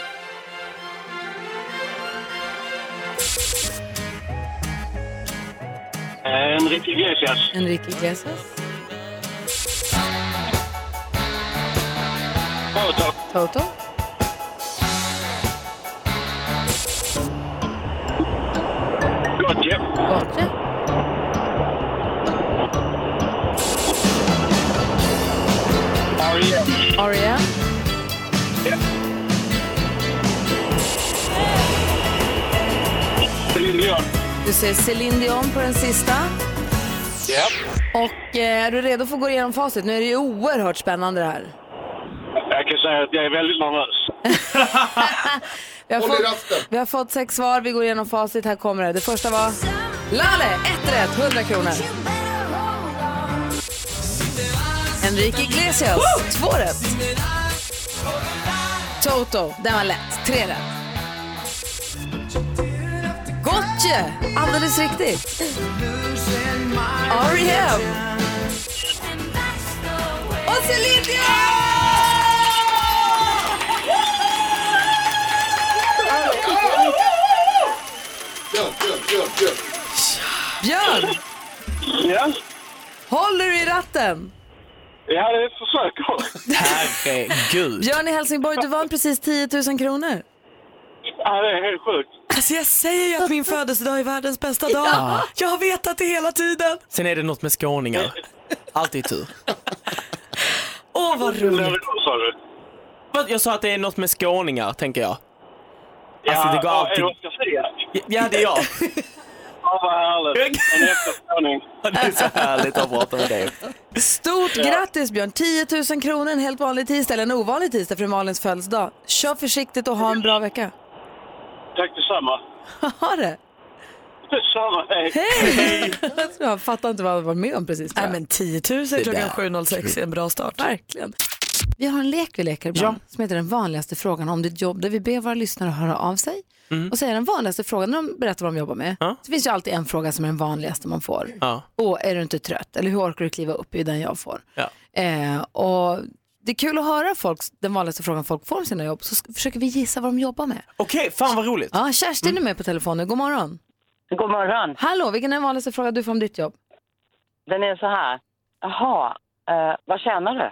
Speaker 8: en riktig Iglesias.
Speaker 2: Enrique Iglesias?
Speaker 8: Företag.
Speaker 2: Toto?
Speaker 8: Gott, ja.
Speaker 2: Gottje?
Speaker 8: R.E.M.
Speaker 2: R.E.M.?
Speaker 8: Céline Dion.
Speaker 2: Du ser Céline Dion på den sista.
Speaker 8: Ja.
Speaker 2: Och eh, är du redo för att gå igenom facit? Nu är det ju oerhört spännande det här.
Speaker 8: Jag kan säga att jag är väldigt nervös.
Speaker 2: Vi har,
Speaker 7: Håll i
Speaker 2: fått,
Speaker 7: ratten.
Speaker 2: vi har fått sex svar, vi går igenom facit. Här kommer det. Det första var Lale, ett rätt, 100 kronor. Enrique Iglesias, två rätt. Toto, den var lätt, tre rätt. Gotje, alldeles riktigt. R.E.M. Och Céline Dion!
Speaker 7: Björn, Björn, Björn, Björn.
Speaker 2: Björn,
Speaker 8: Ja,
Speaker 2: håller du i ratten?
Speaker 8: ja det försöker jag.
Speaker 4: Herregud.
Speaker 2: Björn i Helsingborg, du vann precis 10 000 kronor.
Speaker 8: Ja, det är helt sjukt.
Speaker 3: Alltså jag säger ju att min födelsedag är
Speaker 2: *laughs*
Speaker 3: världens bästa dag. Jag har vetat det hela tiden.
Speaker 4: Sen är det något med skåningar. Alltid tur.
Speaker 3: Åh vad
Speaker 8: Vad
Speaker 3: roligt.
Speaker 8: sa du?
Speaker 4: Vad, Jag sa att det är något med skåningar, tänker jag. Alltså, det går
Speaker 8: ja,
Speaker 4: alltid-
Speaker 8: är det vad jag ska säga?
Speaker 4: Ja, det är jag.
Speaker 8: Ja, vad härligt. En efterskåning.
Speaker 4: Det är så härligt att prata med dig.
Speaker 2: Stort grattis Björn! 10 000 kronor en helt vanlig tisdag, eller en ovanlig tisdag för Malins födelsedag. Kör försiktigt och ha en bra vecka. *laughs*
Speaker 8: Tack detsamma.
Speaker 2: Ha det!
Speaker 8: Detsamma, hej.
Speaker 2: Hej! Jag fattar inte vad jag var med om precis. tror
Speaker 3: Nej
Speaker 2: jag.
Speaker 3: men 10 000 klockan 7.06 är en bra start.
Speaker 2: Verkligen. Vi har en lek vi leker ibland som heter den vanligaste frågan om ditt jobb där vi ber våra lyssnare höra av sig och säga den vanligaste frågan när de berättar vad de jobbar med. Så finns ju alltid en fråga som är den vanligaste man får.
Speaker 4: Ja.
Speaker 2: Åh, är du inte trött? Eller hur orkar du kliva upp? i den jag får.
Speaker 4: Ja.
Speaker 2: Eh, och det är kul att höra folks, den vanligaste frågan folk får om sina jobb så sk- försöker vi gissa vad de jobbar med.
Speaker 4: Okej, fan vad roligt.
Speaker 2: Ja, Kerstin är med på telefon nu. God morgon.
Speaker 9: God morgon.
Speaker 2: Hallå, vilken är den vanligaste frågan du får om ditt jobb?
Speaker 9: Den är så här. Jaha, eh, vad tjänar du?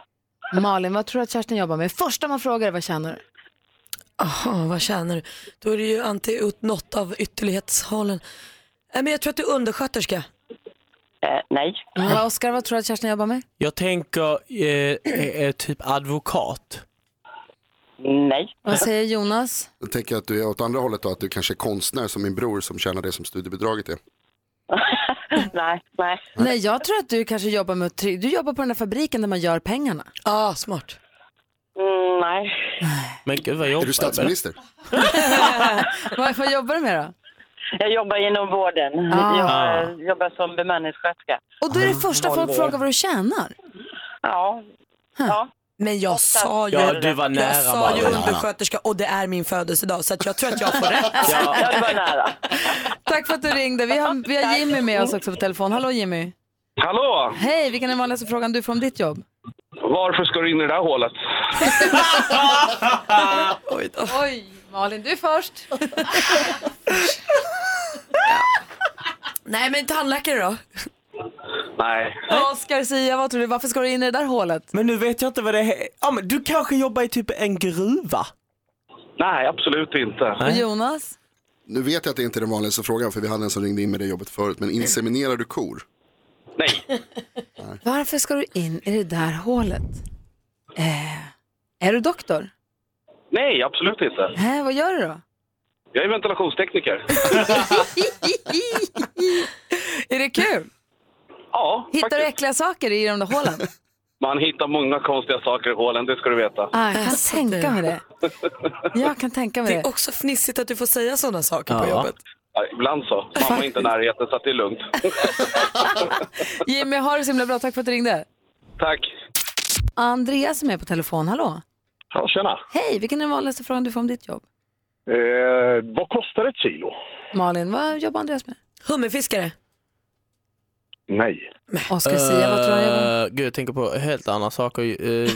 Speaker 2: Malin, vad tror du att Kerstin jobbar med? Första man frågar är vad tjänar du?
Speaker 3: Jaha, vad tjänar du? Då är det ju anti ut något av ytterlighetshållen. Nej men jag tror att du är undersköterska.
Speaker 9: Eh, nej.
Speaker 2: Ja, Oskar, vad tror du att Kerstin jobbar med?
Speaker 4: Jag tänker eh, eh, eh, typ advokat.
Speaker 9: Nej. *laughs*
Speaker 2: Vad säger Jonas?
Speaker 7: Jag tänker att du är åt andra hållet då, att du kanske är konstnär som min bror som tjänar det som studiebidraget är.
Speaker 9: nej, nej.
Speaker 2: Nej, jag tror att du kanske jobbar med att try- Du jobbar på den där fabriken där man gör *laughs* pengarna.
Speaker 3: Ja, ah, smart.
Speaker 9: Mm, nej.
Speaker 4: Men gud vad
Speaker 7: Är
Speaker 4: jobbar
Speaker 7: du
Speaker 4: jag med?
Speaker 7: statsminister?
Speaker 2: Vad, vad jobbar du med då?
Speaker 9: Jag jobbar inom vården.
Speaker 2: Ah.
Speaker 9: Jag eh, jobbar som bemanningssköterska.
Speaker 2: Och då är det första folk frågar vad du tjänar.
Speaker 9: Ja. ja.
Speaker 3: Men jag sa ju,
Speaker 4: Ja, du var
Speaker 3: jag
Speaker 4: nära
Speaker 3: sa ju
Speaker 4: bara.
Speaker 3: undersköterska och det är min födelsedag så att jag tror att jag får *laughs* rätt.
Speaker 9: ja, det var nära.
Speaker 2: Tack för att du ringde. Vi har, vi har Jimmy med oss också på telefon. Hallå Jimmy.
Speaker 8: Hallå!
Speaker 2: Hej, vilken är den vanligaste frågan du får om ditt jobb?
Speaker 8: Varför ska du in i det där hålet?
Speaker 2: Oj, Malin du *laughs* först.
Speaker 3: Nej men tandläkare då?
Speaker 8: Nej.
Speaker 2: Oskar, Sia, vad tror du? Varför ska du in i det där hålet?
Speaker 4: Men nu vet jag inte vad det är. Ja, men du kanske jobbar i typ en gruva?
Speaker 8: Nej, absolut inte.
Speaker 2: Och Jonas?
Speaker 7: Nu vet jag att det inte är den vanligaste frågan för vi hade en som ringde in med det jobbet förut, men inseminerar du kor?
Speaker 8: Nej.
Speaker 2: Varför ska du in i det där hålet? Eh, är du doktor?
Speaker 8: Nej, absolut inte.
Speaker 2: Hä, vad gör du då?
Speaker 8: Jag är ventilationstekniker.
Speaker 2: *laughs* är det kul?
Speaker 8: Ja,
Speaker 2: Hittar du äckliga saker i de där hålen?
Speaker 8: Man hittar många konstiga saker i hålen, det ska du veta.
Speaker 2: Ah, jag kan tänka mig det. Jag kan tänka mig
Speaker 3: Det
Speaker 2: det.
Speaker 3: är också fnissigt att du får säga sådana saker på
Speaker 4: Ja.
Speaker 3: jobbet.
Speaker 8: Ja, Ibland så. Mamma är inte i närheten, så att det är lugnt.
Speaker 2: Jimmy, ha det så himla bra. Tack för att du ringde.
Speaker 8: Tack.
Speaker 2: Andreas som är på telefon, hallå.
Speaker 8: Ja, tjena.
Speaker 2: Hej, vilken är den vanligaste frågan du får om ditt jobb?
Speaker 8: Eh, vad kostar ett kilo?
Speaker 2: Malin, vad jobbar Andreas med?
Speaker 3: Hummerfiskare.
Speaker 8: Nej.
Speaker 2: Oskar Sia, vad tror du han jobbar med?
Speaker 4: Eh, gud, jag tänker på helt andra saker. Eh,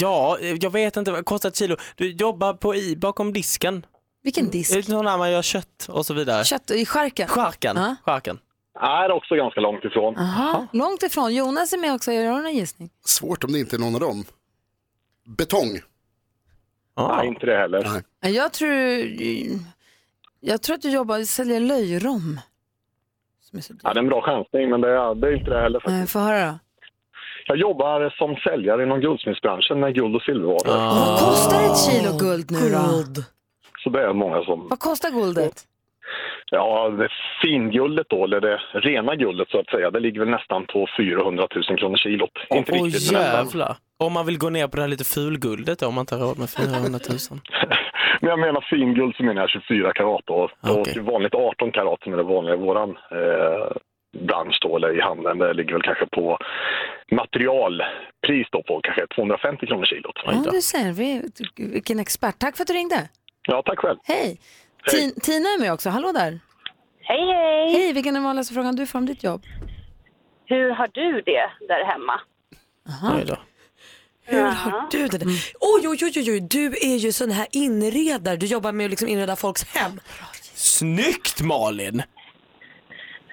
Speaker 4: ja, eh, jag vet inte, vad kostar ett kilo? Du jobbar på i, bakom disken.
Speaker 2: Vilken disk?
Speaker 4: Utan när man gör kött och så vidare.
Speaker 2: Kött i skärken?
Speaker 4: Charkan.
Speaker 2: Ja.
Speaker 4: Charkan.
Speaker 8: Är också ganska långt ifrån.
Speaker 2: Aha, långt ifrån. Jonas är med också, gör du någon gissning?
Speaker 7: Svårt om det inte är någon av dem. Betong.
Speaker 4: Ja.
Speaker 8: Nej, inte det heller.
Speaker 2: Ja, Jag tror, jag tror att du jobbar, säljer löjrom. Som är så dyrt.
Speaker 8: Ja, det är en bra chansning, men det är, det är inte det heller.
Speaker 2: Nej, Få höra då.
Speaker 8: Jag jobbar som säljare inom guldsmedsbranschen med guld och silvervaror.
Speaker 2: Vad kostar ett kilo Ah. guld nu då?
Speaker 3: Guld.
Speaker 8: Så det är många som...
Speaker 2: Vad kostar guldet?
Speaker 8: Ja, det finguldet då, eller det rena guldet så att säga, det ligger väl nästan på 400 000 kronor kilot. inte
Speaker 4: Åh
Speaker 8: riktigt, men nästan.
Speaker 4: jävlar. Om man vill gå ner på det här lite fulguldet då, om man inte har råd med 400
Speaker 2: *laughs*
Speaker 4: 000.
Speaker 8: Men jag menar finguld så menar jag 24 karat då.
Speaker 2: Ah,
Speaker 4: Okej.
Speaker 8: Och vanligt 18 karat som är det vanliga i våran eh, bransch då, eller i handeln. Det ligger väl kanske på materialpris då på kanske 250 kronor kilot.
Speaker 4: Oj
Speaker 2: Ja,
Speaker 4: då.
Speaker 2: du ser, vi, vilken expert. Tack för att du ringde.
Speaker 8: Ja, tack själv.
Speaker 2: Hej. Tin, Tina är med också, hallå där.
Speaker 9: Hej, hej!
Speaker 2: Hej, vilken är den vanligaste frågan du får om ditt jobb?
Speaker 9: Hur har du det där hemma?
Speaker 4: Oj då.
Speaker 3: Hur har du det?
Speaker 2: Mm.
Speaker 3: Oj, oj, oj, oj, oj, du är ju sån här inredare. Du jobbar med att liksom inreda folks hem.
Speaker 4: Snyggt Malin!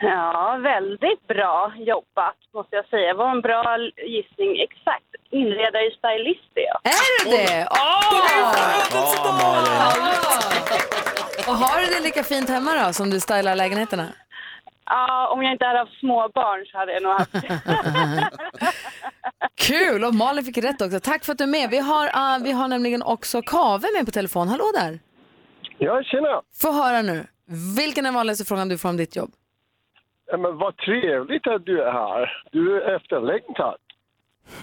Speaker 9: Ja, väldigt bra jobbat måste jag säga. Vad en bra gissning exakt. Inredare i stylist är jag.
Speaker 2: Är du det? Åh!
Speaker 4: Ja, Malin.
Speaker 2: *laughs* Och har du det lika fint hemma då som du stylar lägenheterna?
Speaker 9: Ja, om jag inte hade haft småbarn så hade jag nog haft det.
Speaker 2: Kul! Och Malin fick rätt också. Tack för att du är med. Vi har, ah, vi har nämligen också Kave med på telefon. Hallå där!
Speaker 8: Ja, tjena!
Speaker 2: Få höra nu. Vilken är den vanligaste frågan du får om ditt jobb?
Speaker 8: Men vad trevligt att du är här. Du är efterlängtad.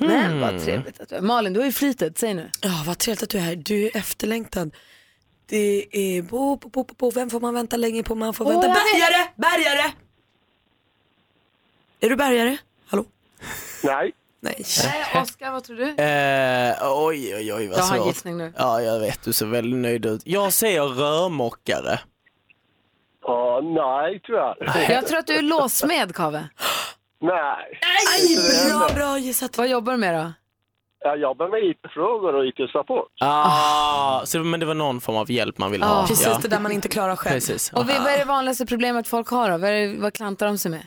Speaker 8: Mm.
Speaker 2: Men vad trevligt att du är. Malin, du har ju flytet. Säg nu.
Speaker 3: Ja, vad trevligt att du är här. Du är efterlängtad. Det är bo, bo, bo, bo, bo. Vem får man vänta länge på? Man får vänta.
Speaker 2: jag vet.
Speaker 3: Bärgare! Bärgare! Är du bärgare? Hallå?
Speaker 8: Nej.
Speaker 3: Nej.
Speaker 2: Oskar, vad tror du?
Speaker 4: Eh, oj, oj, oj vad
Speaker 2: Jag
Speaker 4: svårt.
Speaker 2: har en gissning nu.
Speaker 4: Ja, jag vet. Du ser väldigt nöjd ut. Jag säger rörmokare.
Speaker 8: Ja, nej tyvärr.
Speaker 2: Jag tror att du är låsmed, Kave.
Speaker 8: Nej.
Speaker 3: Aj, bra, bra gissat.
Speaker 2: Vad jobbar du med då?
Speaker 8: Jag jobbar med IT-frågor och IT-support.
Speaker 4: Ah, så, men det var någon form av hjälp man ville ha.
Speaker 2: Ah.
Speaker 3: Precis
Speaker 4: ja.
Speaker 3: det där man inte klarar själv.
Speaker 4: Precis.
Speaker 2: Och vi- vad är det vanligaste problemet folk har då? Vad, är det, vad klantar de sig med?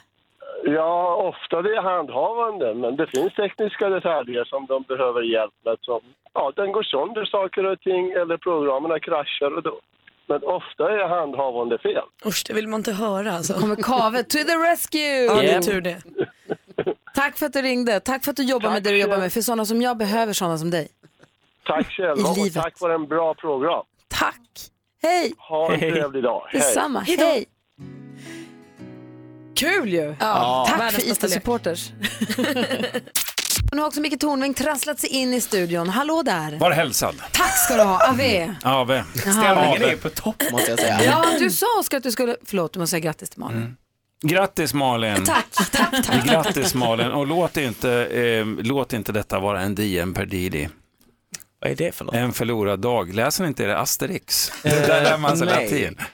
Speaker 8: Ja, ofta det är handhavande, men det finns tekniska detaljer som de behöver hjälp med. Som, ja, den går sönder saker och ting eller programmen kraschar. Och då. Men ofta är handhavande fel.
Speaker 3: Usch, det vill man inte höra alltså.
Speaker 2: Kommer Kave to the rescue!
Speaker 3: Ja, det är
Speaker 4: Yep.
Speaker 3: tur det.
Speaker 2: Tack för att du ringde. Tack för att du jobbar med det du jobbar med. För sådana som jag behöver sådana som dig.
Speaker 8: Tack själva
Speaker 2: I livet.
Speaker 8: och tack för en bra program.
Speaker 2: Tack! Hej!
Speaker 8: Ha en trevlig dag. Hej!
Speaker 2: Detsamma. Hej! Kul ju!
Speaker 3: Ja,
Speaker 2: Tack
Speaker 3: världens
Speaker 2: för
Speaker 3: bästa lek.
Speaker 2: IT-supporters. *laughs* nu har också Micke Tornving trasslat sig in i studion. Hallå där!
Speaker 11: Var hälsad.
Speaker 2: Tack ska du ha, Ave.
Speaker 11: Ave.
Speaker 4: Stämningen är på topp måste jag säga.
Speaker 2: Ja, du sa Oskar att du skulle... Förlåt, du måste säga grattis till Malin.
Speaker 11: Grattis Malin.
Speaker 2: Tack, tack, tack.
Speaker 11: Grattis Malin. Och låt inte, eh, låt inte detta vara en dien per Didi.
Speaker 4: Vad är det för något?
Speaker 11: En förlorad dag. Läser ni inte det? Asterix. Där lär man sig
Speaker 4: nej.
Speaker 11: latin.
Speaker 3: Nej,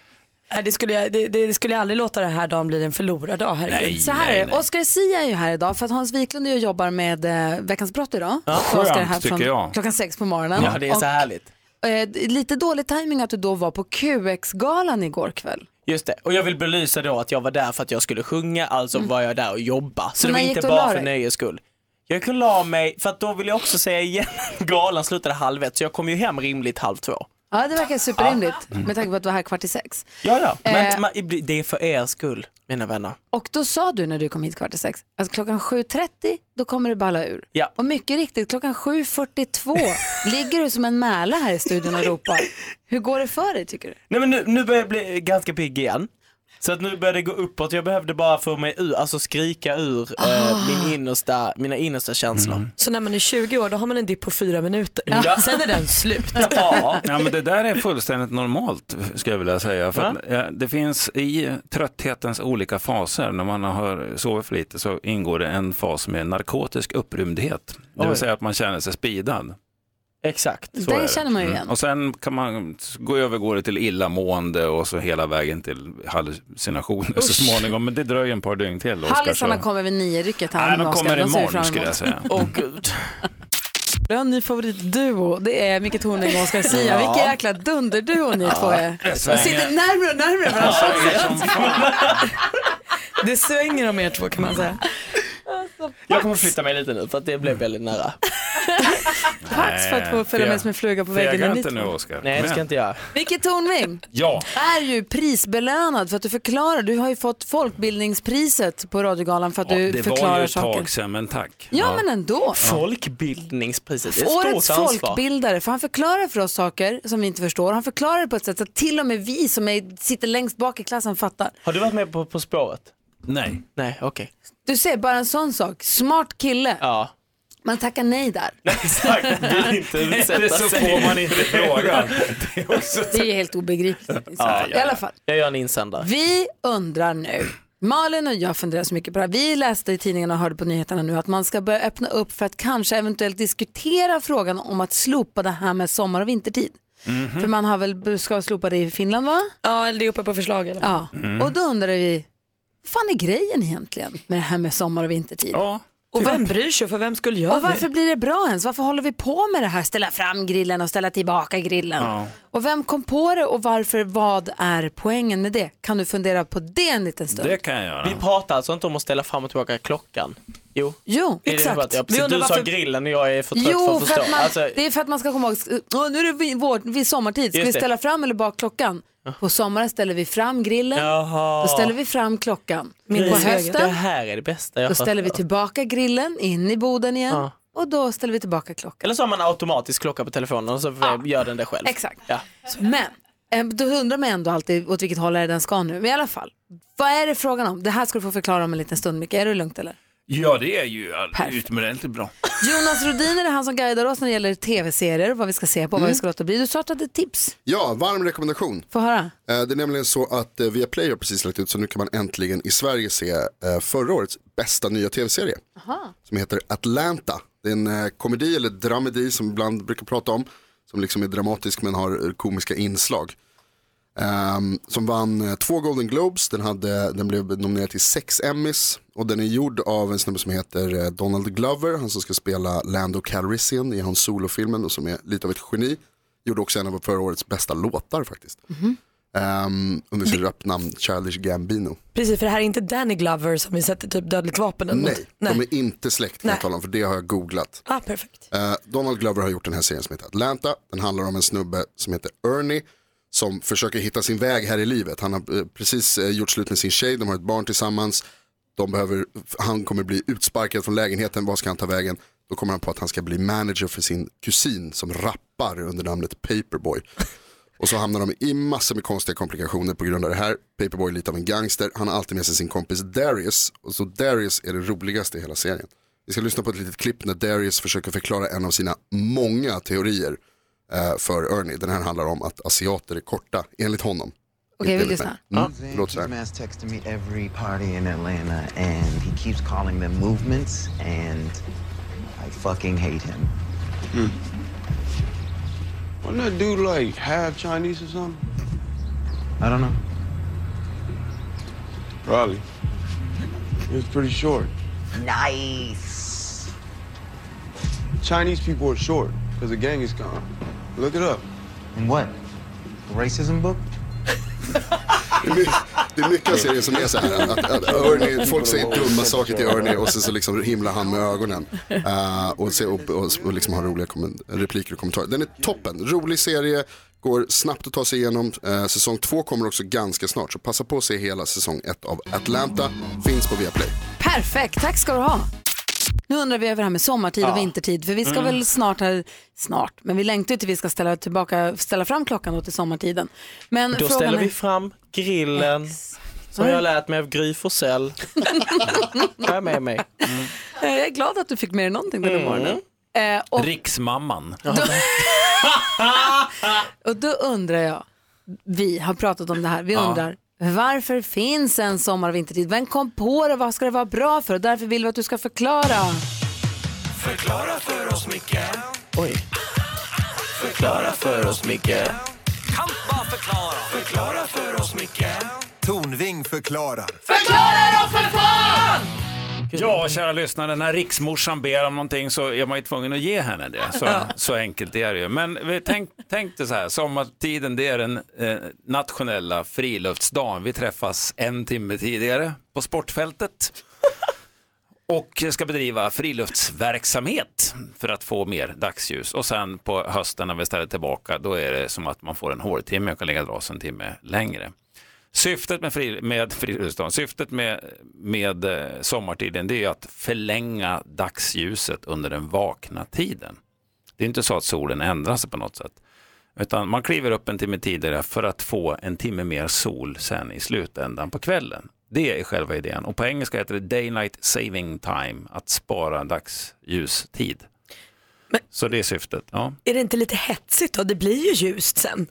Speaker 3: Äh, det, skulle jag, det, det det skulle jag aldrig låta den här dagen bli en förlorad dag. Herregud.
Speaker 11: Nej,
Speaker 2: Så här
Speaker 11: nej,
Speaker 2: är det.
Speaker 11: nej.
Speaker 2: Oscar Sia är ju här idag för att Hans Wiklund är och jobbar med eh, Veckans brott idag. Ja,
Speaker 11: skönt, tycker jag.
Speaker 2: Klockan sex på morgonen.
Speaker 4: Ja, det är så härligt.
Speaker 2: Och, eh, det är lite dålig timing att du då var på QX-galan igår kväll.
Speaker 4: Just det, och jag vill belysa då att jag var där för att jag skulle sjunga, alltså var jag där och jobba. Så det var
Speaker 2: när gick
Speaker 4: inte
Speaker 2: du och la
Speaker 4: bara för
Speaker 2: dig?
Speaker 4: nöjes skull. Jag gick och *laughs* la mig, för att då vill jag också säga igen, galan slutade halv ett, så jag kom ju hem rimligt halv två.
Speaker 2: Ja, det verkar superrimligt med tanke på att du var här kvart i sex.
Speaker 4: Ja, ja. Men
Speaker 2: Eh.
Speaker 4: man- det är för er skull, mina vänner.
Speaker 2: Och då sa du när du kom hit kvart i sex att klockan 7.30 då kommer det balla ur.
Speaker 4: Ja.
Speaker 2: Och mycket riktigt, klockan 7.42 ligger du som en mäla här i studion och ropar. Hur går det för dig tycker du?
Speaker 4: Nej men nu, nu börjar jag bli ganska pigg igen. Så att nu börjar det gå uppåt. Jag behövde bara få mig ur, alltså skrika ur eh, min innersta, mina innersta känslor.
Speaker 3: Så när man är 20 år då har man en dipp på fyra minuter.
Speaker 4: Ja.
Speaker 3: *laughs* Sen är den slut.
Speaker 4: Ja.
Speaker 11: Ja, men det där är fullständigt normalt, skulle jag vilja säga. För att, eh, det finns i trötthetens olika faser, när man har sovit för lite, så ingår det en fas med narkotisk upprymdhet. Det vill
Speaker 4: Oj.
Speaker 11: säga att man känner sig speedad.
Speaker 4: Exakt.
Speaker 11: Så är
Speaker 2: det känner man ju
Speaker 11: Mm.
Speaker 2: igen.
Speaker 11: Och sen kan man gå övergår det till illamående och så hela vägen till hallucinationer så småningom. Men det dröjer en par dygn till. Oskar,
Speaker 2: Hallisarna
Speaker 11: så-
Speaker 2: kommer vid nio-rycket här.
Speaker 11: Nej,
Speaker 2: nu,
Speaker 11: de
Speaker 2: Oscar. ser
Speaker 11: kommer
Speaker 2: vi
Speaker 11: imorgon,
Speaker 2: fram emot.
Speaker 11: skulle jag säga.
Speaker 4: Åh gud.
Speaker 2: Vi har en ny favoritduo. Det är Micke Tornving och Oscar Zia.
Speaker 3: Ja.
Speaker 2: Vilken jäkla dunderduo ni två är.
Speaker 3: det
Speaker 2: De
Speaker 3: svänger.
Speaker 2: sitter närmare och närmare varandra.
Speaker 3: Det svänger om er två kan man säga.
Speaker 4: Jag kommer flytta mig lite nu för att det
Speaker 11: Mm.
Speaker 4: blev väldigt nära.
Speaker 2: Pax för att få följa med som en fluga på väggen. i mitt rum.
Speaker 11: Oskar.
Speaker 4: Nej, det ska
Speaker 11: Men-
Speaker 4: inte jag.
Speaker 2: Micke Tornving
Speaker 11: Ja.
Speaker 2: är ju prisbelönad för att du förklarar. Du har ju fått Folkbildningspriset på Radiogalan för att
Speaker 11: Ja,
Speaker 2: du
Speaker 11: det var ju
Speaker 2: förklarar
Speaker 11: ett
Speaker 2: saker.
Speaker 11: tag sedan, men tack.
Speaker 2: Ja, men ändå.
Speaker 4: Folkbildningspriset, det är ett
Speaker 2: Årets
Speaker 4: stort ansvar.
Speaker 2: folkbildare, för han förklarar för oss saker som vi inte förstår. Han förklarar det på ett sätt så att till och med vi som är, sitter längst bak i klassen fattar.
Speaker 4: Har du varit med på På spåret?
Speaker 11: Nej.
Speaker 4: Nej, okej.
Speaker 2: Du ser, bara en sån sak. Smart kille.
Speaker 4: Ja.
Speaker 2: Man tackar nej där.
Speaker 4: *laughs* Exakt, vill inte utsätta
Speaker 11: Det så
Speaker 4: sig.
Speaker 11: får man
Speaker 4: *laughs*
Speaker 11: inte frågan.
Speaker 2: Det är ju helt obegripligt. I, så fall. I alla fall.
Speaker 4: Jag gör en insändare.
Speaker 2: Vi undrar nu. Malin och jag funderar så mycket på det här. Vi läste i tidningarna och hörde på nyheterna nu att man ska börja öppna upp för att kanske eventuellt diskutera frågan om att slopa det här med sommar och vintertid.
Speaker 4: Mhm.
Speaker 2: För man har väl, ska slopa det i Finland va?
Speaker 3: Ja, eller det är uppe på förslag. Eller?
Speaker 2: Ja,
Speaker 3: Mm.
Speaker 2: och då undrar vi, vad fan är grejen egentligen med det här med sommar och vintertid?
Speaker 3: Och vem bryr sig? För vem skulle jag
Speaker 2: och varför blir det bra ens? Varför håller vi på med det här? Ställa fram grillen och ställa tillbaka grillen.
Speaker 3: Ja.
Speaker 2: Och vem kom på det och varför? Vad är poängen med det? Kan du fundera på det en liten stund?
Speaker 11: kan jag göra.
Speaker 4: Vi pratar alltså inte om att ställa fram och tillbaka klockan? Jo,
Speaker 2: Jo,
Speaker 4: Är det
Speaker 2: exakt.
Speaker 4: bara- Ja,
Speaker 2: Vi
Speaker 4: precis, du
Speaker 2: undrar
Speaker 4: sa
Speaker 2: varför-
Speaker 4: grillen och jag är för trött för
Speaker 2: Jo,
Speaker 4: att
Speaker 2: för
Speaker 4: förstå.
Speaker 2: att man,
Speaker 4: alltså,
Speaker 2: det är för att man ska komma ihåg, "Åh, nu är det vi- vår, vi sommartid, ska
Speaker 4: Just
Speaker 2: vi
Speaker 4: det.
Speaker 2: ställa fram eller bak klockan? På sommaren ställer vi fram grillen,
Speaker 4: Jaha.
Speaker 2: då ställer vi fram klockan.
Speaker 4: Grillen.
Speaker 2: på
Speaker 4: Det
Speaker 2: hösten,
Speaker 4: här är det bästa jag
Speaker 2: då
Speaker 4: har-
Speaker 2: ställer vi tillbaka grillen in i boden igen
Speaker 4: Ja.
Speaker 2: och då ställer vi tillbaka klockan.
Speaker 4: Eller så har man automatisk klocka på telefonen och så gör den det själv.
Speaker 2: Exakt.
Speaker 4: Ja.
Speaker 2: Men eh, då undrar man ändå alltid åt vilket håll är det den ska nu. Men i alla fall, vad är det frågan om? Det här ska du få förklara om en liten stund, Micke. Är det lugnt eller?
Speaker 11: Ja, det är ju utomordentligt bra.
Speaker 2: Jonas Rodiner är han som guidar oss när det gäller tv-serier, vad vi ska se på, vad vi ska låta bli. Du startade tips,
Speaker 7: Ja, varm rekommendation.
Speaker 2: få höra.
Speaker 7: Eh, Det är nämligen så att eh, Viaplay har precis lagt ut så nu kan man äntligen i Sverige se eh, förra årets bästa nya tv-serie som heter Atlanta. Det är en eh, komedi eller dramedi som vi ibland brukar prata om som liksom är dramatisk men har eh, komiska inslag. Ehm, som vann eh, två Golden Globes, den, hade, den blev nominerad till sex Emmys och den är gjord av en snubbe som heter eh, Donald Glover, han som ska spela Lando Calrissian i hans solofilmen och som är lite av ett geni. Gjorde också en av förra årets bästa låtar faktiskt. Ehm, under sin rapnamn Childish Gambino.
Speaker 3: Precis, för det här är inte Danny Glover som vi sätter typ dödligt vapen eller något.
Speaker 7: Nej, de är inte släkt kan jag
Speaker 3: Nej.
Speaker 7: tala om för det har jag googlat.
Speaker 3: Ah, perfekt.
Speaker 7: Eh, Donald Glover har gjort den här serien som heter Atlanta. Den handlar om en snubbe som heter Ernie som försöker hitta sin väg här i livet. Han har eh, precis eh, gjort slut med sin tjej, de har ett barn tillsammans. De behöver, han kommer bli utsparkad från lägenheten, vad ska han ta vägen? Då kommer han på att han ska bli manager för sin kusin som rappar under namnet Paperboy. Och så hamnar de i massor med konstiga komplikationer på grund av det här. Paperboy är lite av en gangster, han har alltid med sig sin kompis Darius. Och så Darius är det roligaste i hela serien. Vi ska lyssna på ett litet klipp när Darius försöker förklara en av sina många teorier eh, för Ernie. Den här handlar om att asiater är korta, enligt honom.
Speaker 2: Okej, vi
Speaker 7: Inte enligt mig.
Speaker 2: lyssnar.
Speaker 7: Mm, det låter så här.
Speaker 12: His mass texting me every party in Atlanta, and he keeps calling them movements, and I fucking hate him.
Speaker 13: Hmm. Wasn't that dude like half Chinese or something?
Speaker 12: I don't know.
Speaker 13: Probably. He was pretty short.
Speaker 12: Nice.
Speaker 13: Chinese people are short because the gang is gone. Look it up.
Speaker 12: And what? The racism book?
Speaker 7: Det är my- Det är mycket av serien som är så här. Att, att Ernie, folk säger dumma saker till Ernie och sen så liksom himlar han med ögonen. Eh, och, se, och, och, och liksom har roliga kommen- repliker och kommentarer. Den är toppen, rolig serie, Går snabbt att ta sig igenom. Eh, säsong två kommer också ganska snart, så passa på att se hela säsong ett av Atlanta. Finns på Viaplay.
Speaker 2: Perfekt, tack ska du ha. Nu undrar vi över det här med sommartid och
Speaker 7: Ja.
Speaker 2: vintertid, för vi ska
Speaker 7: Mm.
Speaker 2: väl snart, här, snart, men vi längtar ju till vi ska ställa, tillbaka, ställa fram klockan då till sommartiden. Men
Speaker 4: Då
Speaker 2: frågan är,
Speaker 4: ställer
Speaker 2: Mm.
Speaker 4: vi fram grillen som jag lärt mig av
Speaker 2: *laughs*
Speaker 4: Gry Forssell. Jag är med mig.
Speaker 2: Eh, *laughs* jag är glad att du fick med dig någonting den här
Speaker 11: Mm.
Speaker 2: morgonen. Eh, och,
Speaker 11: Riksmamman.
Speaker 2: och då undrar jag, vi har pratat om det här, vi
Speaker 11: Ja.
Speaker 2: undrar, varför finns en sommar och vintertid? Vem kom på det? Vad ska det vara bra för? Och därför vill vi att du ska
Speaker 11: Eh.
Speaker 2: förklara.
Speaker 6: Förklara för oss, Micke.
Speaker 4: Oj.
Speaker 6: Förklara för oss, Micke.
Speaker 14: Kan bara förklara. Förklara för oss, Micke.
Speaker 10: Tornving förklarar.
Speaker 6: Förklara då för fan!
Speaker 11: Ja, kära lyssnare, när riksmorsan ber om någonting så är man ju tvungen att ge henne det. Så,
Speaker 6: Ja.
Speaker 11: så enkelt är det ju. Men vi tänk, tänk dig så här, sommartiden det är den eh, nationella friluftsdagen. Vi träffas en timme tidigare på sportfältet och ska bedriva friluftsverksamhet för att få mer dagsljus. Och sen på hösten när vi ställer tillbaka, då är det som att man får en hårtimme och kan lägga dras en timme längre. Syftet med, fri, med friluftsdagen, syftet med, med eh, sommartiden, det är ju att förlänga dagsljuset under den vakna tiden. Det är inte så att solen ändrar sig på något sätt. Utan man kliver upp en timme tidigare för att få en timme mer sol sen i slutändan på kvällen. Det är själva idén. Och på engelska heter det Day Night Saving Time, att spara dagsljustid. så det är syftet. Ja.
Speaker 3: Är det inte lite hetsigt då? Det blir ju ljust sen.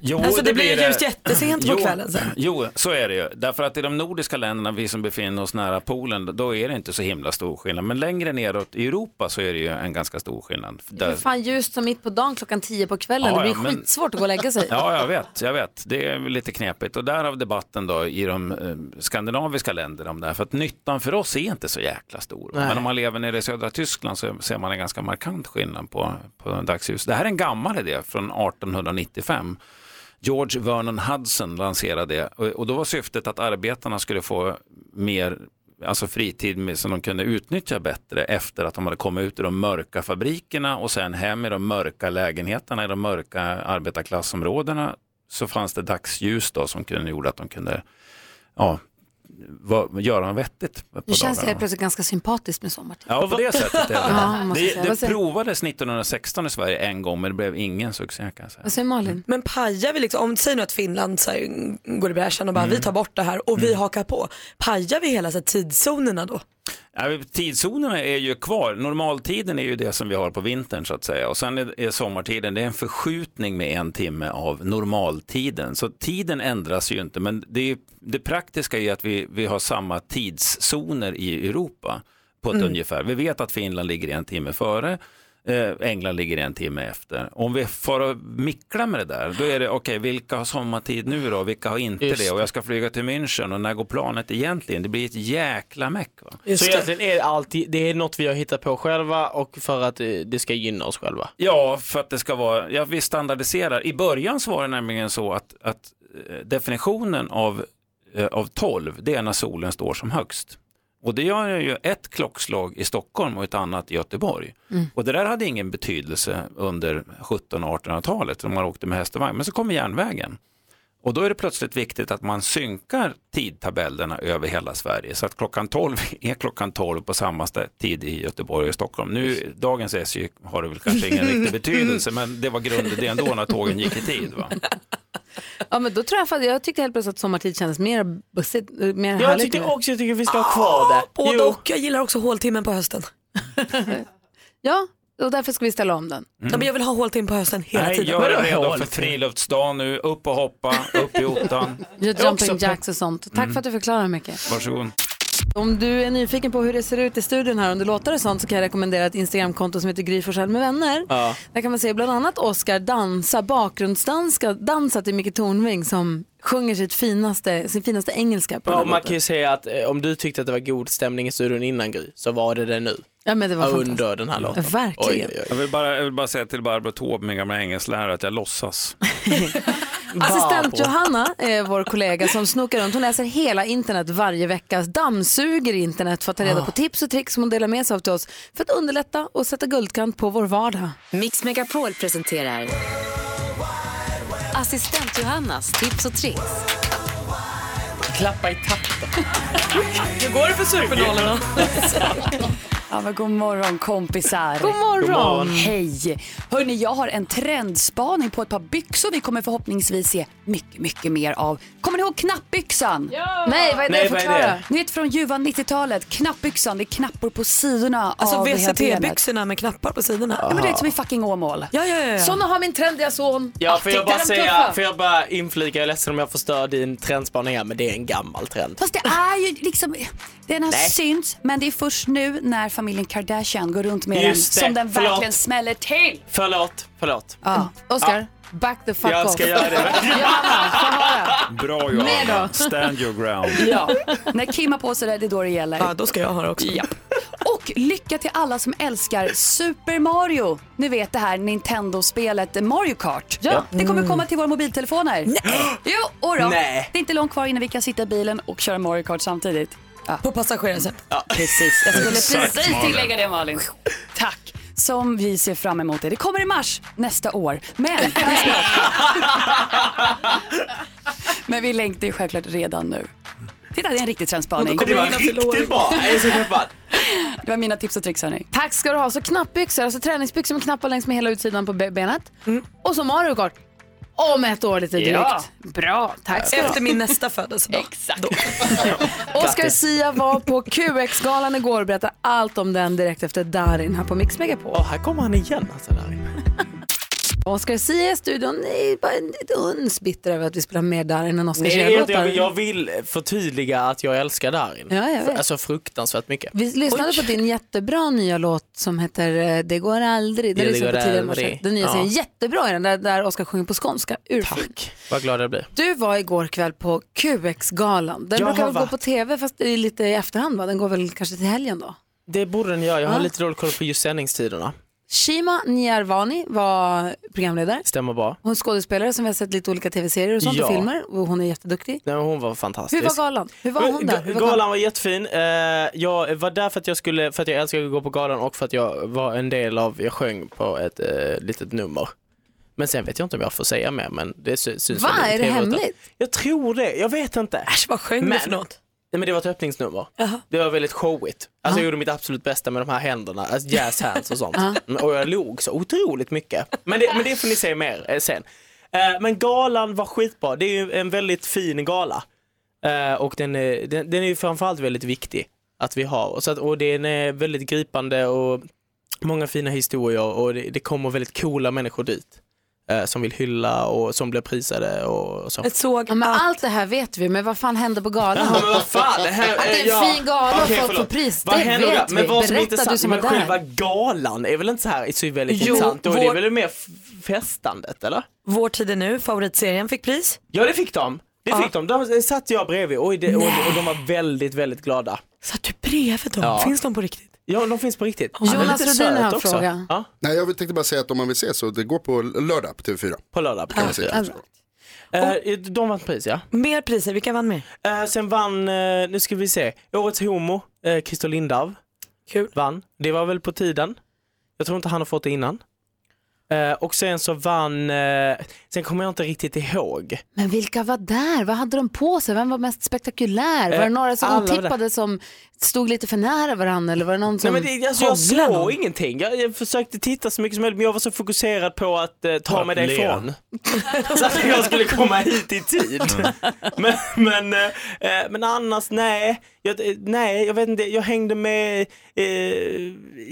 Speaker 11: Jo,
Speaker 3: Alltså, det blir ju ljust jättesent på
Speaker 11: Jo,
Speaker 3: kvällen sen.
Speaker 11: Jo, så är det ju. Därför att i de nordiska länderna, vi som befinner oss nära polen, då är det inte så himla stor skillnad. Men längre neråt i Europa så är det ju en ganska stor skillnad.
Speaker 2: Hur fan ljust som mitt på dagen klockan tio på kvällen,
Speaker 11: Ja,
Speaker 2: det
Speaker 11: ja,
Speaker 2: blir
Speaker 11: men-
Speaker 2: skitsvårt att gå och lägga sig.
Speaker 11: *laughs* Ja, jag vet, jag vet. Det är lite knepigt. Och därav debatten då i de eh, skandinaviska länderna om det här. För att nyttan för oss är inte så jäkla stor.
Speaker 4: Nej.
Speaker 11: Men om man lever nere i södra Tyskland så ser man en ganska markant skillnad på, på dagsljus. Det här är en gammal idé från 1895. George Vernon Hudson lanserade det och, och då var syftet att arbetarna skulle få mer alltså fritid med, som de kunde utnyttja bättre efter att de hade kommit ut ur de mörka fabrikerna och sen hem i de mörka lägenheterna i de mörka arbetarklassområdena så fanns det dagsljus då som kunde, gjorde att de kunde ja, va, göra något vettigt. På
Speaker 2: Nu känns det
Speaker 11: dagarna.
Speaker 2: helt plötsligt ganska sympatiskt med sommartid.
Speaker 11: Ja, på det sättet. Är det.
Speaker 2: Ja, måste jag säga.
Speaker 11: det,
Speaker 2: Vad
Speaker 11: det
Speaker 2: säger-
Speaker 11: provades 1916 i Sverige en gång, men det blev ingen succé. Kan jag säga.
Speaker 2: Vad säger Malin?
Speaker 3: Men pajar vi liksom, om säg nu att Finland så här, går i bräschen och bara
Speaker 11: Mm.
Speaker 3: vi tar bort det här och vi hakar på. Pajar vi hela så här, tidszonerna då?
Speaker 11: Ja, men Tidszonerna är ju kvar. Normaltiden är ju det som vi har på vintern så att säga. Och sen är, är sommartiden, det är en förskjutning med en timme av normaltiden. Så tiden ändras ju inte, men det, är, ju- det praktiska är ju att vi, vi har samma tidszoner i Europa på ett
Speaker 4: Mm.
Speaker 11: ungefär. Vi vet att Finland ligger en timme före. eh, England ligger en timme efter. Om vi får att mickla med det där, då är det okej, vilka har sommartid nu då? Vilka har inte
Speaker 4: Just
Speaker 11: det? Och
Speaker 4: det.
Speaker 11: jag ska flyga till München och när går planet egentligen? Det blir ett jäkla meck. Va?
Speaker 4: Så egentligen är det, alltid, det är något vi har hittat på själva och för att eh, det ska gynna oss själva.
Speaker 11: Ja, för att det ska vara, ja, vi standardiserar. I början så var det nämligen så att, att eh, definitionen av, eh, av 12, det är när solen står som högst. Och det gör ju ett klockslag i Stockholm och ett annat i Göteborg.
Speaker 6: Mm.
Speaker 11: Och det där hade ingen betydelse under 1700 och 1800-talet när man åkte med häst och vagn. Men så kommer järnvägen. Och då är det plötsligt viktigt att man synkar tidtabellerna över hela Sverige så att klockan 12 *laughs* är klockan 12 på samma stä- tid i Göteborg och i Stockholm. Nu, dagens SJ har det väl kanske ingen riktig betydelse men det var grundidén då när tågen gick i tid. Va?
Speaker 2: Ja, men då tror jag, fan- jag tyckte helt plötsligt att sommartid kändes mer bussigt, eh, mer
Speaker 4: Jag
Speaker 2: härligt.
Speaker 4: tycker
Speaker 2: nu.
Speaker 4: också jag tycker vi
Speaker 2: Ah,
Speaker 4: ska ha kvar det.
Speaker 3: Både
Speaker 4: Jo.
Speaker 3: och, jag gillar också håltimmen på hösten.
Speaker 2: Ja, och därför ska vi ställa om den.
Speaker 11: Mm.
Speaker 3: Ja, men jag vill ha håltim på hösten hela
Speaker 11: Nej,
Speaker 3: tiden.
Speaker 11: jag är
Speaker 3: Vadå?
Speaker 11: redo för friluftsdagen nu. Upp och hoppa, upp i ottan.
Speaker 2: Gör
Speaker 11: Också
Speaker 2: jumping
Speaker 11: på-
Speaker 2: jacks och sånt. Tack
Speaker 11: Mm.
Speaker 2: för att du förklarar mycket.
Speaker 11: Varsågod.
Speaker 2: Om du är nyfiken på hur det ser ut i studion här under låtar och sånt så kan jag rekommendera ett Instagramkonto som heter Gry Forssell med vänner.
Speaker 4: Ja.
Speaker 2: Där kan man se bland annat Oscar dansa, bakgrundsdansa, dansa till Micke Tornving som sjunger sitt finaste, sin finaste engelska på
Speaker 4: Ja,
Speaker 2: den
Speaker 4: och
Speaker 2: här
Speaker 4: man
Speaker 2: låten.
Speaker 4: kan ju säga att eh, om du tyckte att det var god stämning i studion innan Gry, så var det det nu.
Speaker 2: Ja, men det var fantastiskt.
Speaker 4: Under den här låten.
Speaker 2: Verkligen.
Speaker 4: Oj, oj,
Speaker 11: Jag vill, bara, jag vill bara säga till Barbro Taube, min gamla engelsklärare, att jag låtsas.
Speaker 2: Assistent Johanna är vår kollega som snokar runt. Hon läser hela internet varje vecka, dammsuger internet för att ta reda på tips och tricks som hon delar med sig av till oss för att underlätta och sätta guldkant på vår vardag.
Speaker 15: Mix Megapol presenterar
Speaker 1: Assistent Johannas tips och tricks.
Speaker 15: Klappa i takt. Hur går det för supernollorna?
Speaker 16: Ja, men god morgon kompisar.
Speaker 15: God morgon. God morgon.
Speaker 16: Hej. Hörni, jag har en trendspaning på ett par byxor vi kommer förhoppningsvis se mycket, mycket mer av. Kommer ni ihåg knappbyxan? Ja!
Speaker 2: Nej, vad är det? Nej, vad är Förklara. det?
Speaker 16: Ni vet från ljuva 90-talet, knappbyxan, det är knappor på sidorna
Speaker 3: Alltså
Speaker 16: av det här benet.
Speaker 3: VCT-byxorna med knappar på sidorna.
Speaker 16: Ja, men det är som i fucking Åmål.
Speaker 3: Ja, ja, ja.
Speaker 2: Såna har min trendiga son. Ah,
Speaker 4: Ja, får jag
Speaker 2: Titta,
Speaker 4: bara
Speaker 2: Alltså, de
Speaker 4: säga,
Speaker 2: tuffa.
Speaker 4: får jag bara inflika, jag är ledsen om jag förstör din trendspaning här, men det är en gammal trend.
Speaker 16: Fast det är ju liksom, den har
Speaker 4: Nej.
Speaker 16: synts men det är först nu när familjen Kardashian går runt med den
Speaker 4: Just det,
Speaker 16: som den
Speaker 4: förlåt.
Speaker 16: verkligen smäller till.
Speaker 4: Förlåt, förlåt.
Speaker 16: Ja.
Speaker 2: Oscar, back the fuck
Speaker 4: Jag
Speaker 2: off.
Speaker 4: ska
Speaker 2: *laughs*
Speaker 4: göra det.
Speaker 2: Johanna, få höra.
Speaker 11: Bra
Speaker 2: Mer
Speaker 11: Johanna,
Speaker 2: då?
Speaker 11: stand your ground.
Speaker 16: *laughs* Ja, när Kim har på sig det, det är då det gäller.
Speaker 3: Ja, då ska jag ha det också.
Speaker 16: Ja. Och lycka till alla som älskar Super Mario. Ni vet det här Nintendo-spelet Mario Kart.
Speaker 15: Ja.
Speaker 16: Det kommer komma till våra mobiltelefoner. Nej. Jo, och då.
Speaker 15: Nej.
Speaker 16: Det är inte långt kvar innan vi kan sitta i bilen och köra Mario Kart samtidigt. Ja.
Speaker 3: På passagerarsätet.
Speaker 16: Precis, jag skulle
Speaker 15: Exakt,
Speaker 16: precis
Speaker 15: Malin.
Speaker 16: tillägga det Malin. Tack. Som vi ser fram emot det. Det kommer i mars nästa år. Men, *laughs* men vi längtar ju självklart redan nu. Titta, det är en riktig trendspaning.
Speaker 4: Det var riktigt bra. Jag är så peppad.
Speaker 16: Det var mina tips och tricks hörni.
Speaker 2: Tack ska du ha. Så knappbyxor, alltså träningsbyxor med knappar längs med hela utsidan på be- benet.
Speaker 4: Mm.
Speaker 2: Och så Mario Kart. Om ett år lite drygt.
Speaker 15: Ja.
Speaker 2: Bra, tack ska du ha.
Speaker 3: Efter min nästa födelsedag.
Speaker 16: Exakt.
Speaker 2: Oscar Sia var på QX-galan igår och berättar allt om den direkt efter Darin här på Mix Megapol.
Speaker 4: Och här kommer han igen alltså Darin.
Speaker 2: Oscar Sia i studion är bara en liten uns bitter över att vi spelar mer Darin än Oscar
Speaker 4: Nej, det är inte- jag, jag
Speaker 2: Sia-låtar.
Speaker 4: vill förtydliga att jag älskar Darin.
Speaker 2: Ja, jag vet.
Speaker 4: Alltså fruktansvärt mycket.
Speaker 2: Vi lyssnade på din jättebra nya låt som heter eh, Det går aldrig. Den
Speaker 4: Ja, det
Speaker 2: lyssnade
Speaker 4: går
Speaker 2: på tidigare i
Speaker 4: aldrig.
Speaker 2: morse. Den nya
Speaker 4: Ja.
Speaker 2: serien, jättebra är den där, där Oscar sjunger på skånska. Urfin.
Speaker 4: Vad glad jag blir.
Speaker 2: Du var igår kväll på QX-galan. Den
Speaker 4: Jag
Speaker 2: brukar
Speaker 4: har
Speaker 2: väl gå
Speaker 4: varit.
Speaker 2: på tv fast det är lite i efterhand va? Den går väl kanske till helgen då?
Speaker 4: Det borde den göra. Jag har
Speaker 2: Ja.
Speaker 4: lite dålig koll på just sändningstiderna.
Speaker 2: Shima Niarvani var programledare.
Speaker 4: Stämmer bra.
Speaker 2: Hon är skådespelare som vi har sett lite olika tv-serier och sånt
Speaker 4: Ja.
Speaker 2: och filmer och hon är jätteduktig.
Speaker 4: Nej, men hon var
Speaker 2: Hur
Speaker 4: fantastisk.
Speaker 2: var galan? Hur var hon där? Hur var
Speaker 4: Galan var jättefin. Eh, Jag var där för att jag skulle, för att jag älskar att gå på galan och för att jag var en del av, jag sjöng på ett eh, litet nummer. Men sen vet jag inte om jag får säga mer men det sy- syns
Speaker 2: Va,
Speaker 4: väl i
Speaker 2: är det
Speaker 4: TV-rutan.
Speaker 2: hemligt?
Speaker 4: Jag tror det, jag vet inte. Äsch
Speaker 3: vad sjöng
Speaker 4: men,
Speaker 3: du för något?
Speaker 4: Nej men det var ett öppningsnummer. Det var väldigt showigt. Alltså jag gjorde mitt absolut bästa med de här händerna, alltså jazz hands och sånt.
Speaker 15: Ja.
Speaker 4: Mm, Och jag log så otroligt mycket. Men det, men det får ni se mer eh, sen. Eh, Men galan var skitbra, det är ju en väldigt fin gala. Eh, Och den är, den, den är ju framförallt väldigt viktig att vi har. Och, så att, och den är väldigt gripande och många fina historier och det, det kommer väldigt coola människor dit. eh, Som vill hylla och som blir prisade och så.
Speaker 2: ja, men Allt det här vet vi, men vad fan hände på galan?
Speaker 4: Ja, men vad fan, det här,
Speaker 2: att det är en
Speaker 4: ja.
Speaker 2: fin gala och
Speaker 4: Okej,
Speaker 2: folk får
Speaker 4: förlåt.
Speaker 2: pris,
Speaker 4: Vad
Speaker 2: det
Speaker 4: händer
Speaker 2: vet
Speaker 4: där? Men
Speaker 2: vi.
Speaker 4: vad som är
Speaker 2: Berätta, du
Speaker 4: intressant,
Speaker 2: som
Speaker 4: men
Speaker 2: var där.
Speaker 4: själva galan är väl inte så här så väldigt
Speaker 3: Jo,
Speaker 4: intressant? Då är det
Speaker 3: vår-
Speaker 4: väl mer f- festandet eller?
Speaker 3: Vår tid är nu, favoritserien fick pris.
Speaker 4: Ja det fick de. Det fick de. De satt jag bredvid Oj, det, och, och de var väldigt, väldigt glada.
Speaker 3: Bredvid dem,
Speaker 4: Ja.
Speaker 3: finns de på riktigt?
Speaker 4: Ja, de finns på riktigt.
Speaker 3: Jonas
Speaker 4: Han är lite
Speaker 3: Rhodin har
Speaker 4: söt
Speaker 3: en
Speaker 4: också.
Speaker 3: fråga.
Speaker 4: Ja,
Speaker 7: Nej, jag tänkte bara säga att om man vill se så det går på lördag på TV4.
Speaker 4: på lördag.
Speaker 7: Kan man se.
Speaker 4: Eh, de vann pris ja.
Speaker 3: Mer priser, vilka vann mer?
Speaker 4: Eh, sen vann, eh, nu ska vi se, Årets Homo, eh, Christer Lindarw.
Speaker 3: Kul.
Speaker 4: Vann. Det var väl på tiden. Jag tror inte han har fått det innan. Eh, och sen så vann, eh, sen kommer jag inte riktigt ihåg.
Speaker 2: Men vilka var där? Vad hade de på sig? Vem var mest spektakulär? Var det
Speaker 4: Eh,
Speaker 2: några som
Speaker 4: alla var där.
Speaker 2: otippade som stod lite för nära varandra eller var det någon som
Speaker 4: Nej, men det, alltså, jag
Speaker 2: hånglade
Speaker 4: såg
Speaker 2: någon?
Speaker 4: ingenting. Jag, jag försökte titta så mycket som möjligt men jag var så fokuserad på att eh, ta
Speaker 11: Att
Speaker 4: mig
Speaker 11: le.
Speaker 4: därifrån. *laughs* så att jag skulle komma hit i tid. Men, men, eh, eh, men annars nej. Jag, eh, nej, jag vet inte. Jag hängde med, eh,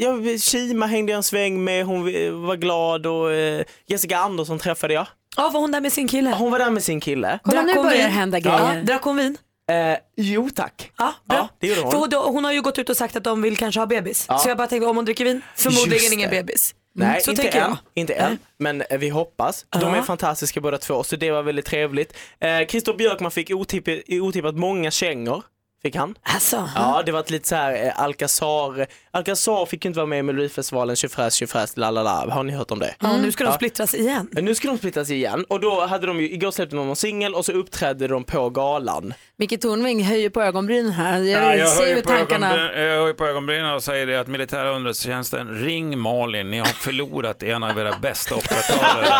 Speaker 4: jag, Kima hängde jag en sväng med, hon eh, var glad och eh, Jessica Andersson träffade jag.
Speaker 3: Ja, var hon där med sin kille?
Speaker 4: Hon var där med sin kille.
Speaker 2: Kolla, nu
Speaker 3: hon
Speaker 2: börjar
Speaker 3: vin?
Speaker 2: det hända
Speaker 3: Ja,
Speaker 2: grejer.
Speaker 3: drack hon vin?
Speaker 4: Eh, jo tack.
Speaker 3: Ja,
Speaker 4: bra. det gjorde
Speaker 3: För
Speaker 4: hon.
Speaker 3: hon, hon har ju gått ut och sagt att de vill kanske ha bebis.
Speaker 4: Ja.
Speaker 3: Så jag bara tänkte om hon dricker vin,
Speaker 4: Just
Speaker 3: förmodligen ingen
Speaker 4: det.
Speaker 3: bebis.
Speaker 2: Mm,
Speaker 4: Nej,
Speaker 3: så
Speaker 4: inte
Speaker 3: tänker
Speaker 4: än,
Speaker 3: jag.
Speaker 4: inte än, men eh, vi hoppas. De är fantastiska båda två, så det var väldigt trevligt. Eh, Christer Björkman fick otipp, otippat många kängor. Fick han.
Speaker 3: Alltså,
Speaker 4: Ja, det var ett lite så här eh, Alcazar. Alcazar fick ju inte vara med i Melodifestivalen, tjofräs, tjofräs, la la la. Har ni hört om det?
Speaker 3: ja, nu ska de splittras igen.
Speaker 4: Men Nu ska de splittas igen och då hade de ju, igår släppte de en singel och så uppträdde de på galan.
Speaker 2: Micke Tornving höjer på ögonbrynen här. Jag,
Speaker 11: Ja, jag
Speaker 2: ser
Speaker 11: höjer
Speaker 2: ju
Speaker 11: på
Speaker 2: tankarna.
Speaker 11: ögonbry- Eh, jag höjer på ögonbrynen och säger det att militära underrättelsetjänsten,
Speaker 8: *laughs*
Speaker 11: ring Malin, ni har förlorat en av era bästa operatörer.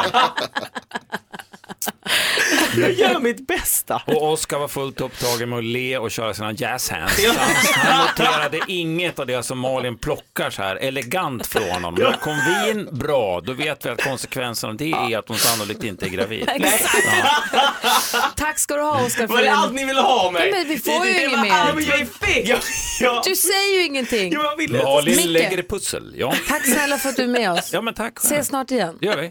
Speaker 4: Jag gör mitt bästa.
Speaker 11: Och Oskar var fullt upptagen med att le och köra sina jazzhands. Så han- Han noterade inget av det som Malin plockar så här elegant från honom. Men kom vin, bra, då vet vi att konsekvensen av det är att hon sannolikt inte är gravid.
Speaker 17: Tack ska du ha Oskar.
Speaker 4: Var det allt ni ville ha av mig?
Speaker 2: Men vi får ju
Speaker 4: Det- det
Speaker 2: inget
Speaker 4: var
Speaker 2: mer.
Speaker 4: allt vi fick. Jag- jag-
Speaker 2: Du säger ju ingenting.
Speaker 11: Malin lägger
Speaker 2: Micke,
Speaker 11: ett pussel, ja.
Speaker 2: tack snälla för att du är med oss.
Speaker 11: Ja men tack.
Speaker 2: Ses snart igen.
Speaker 11: Det gör vi.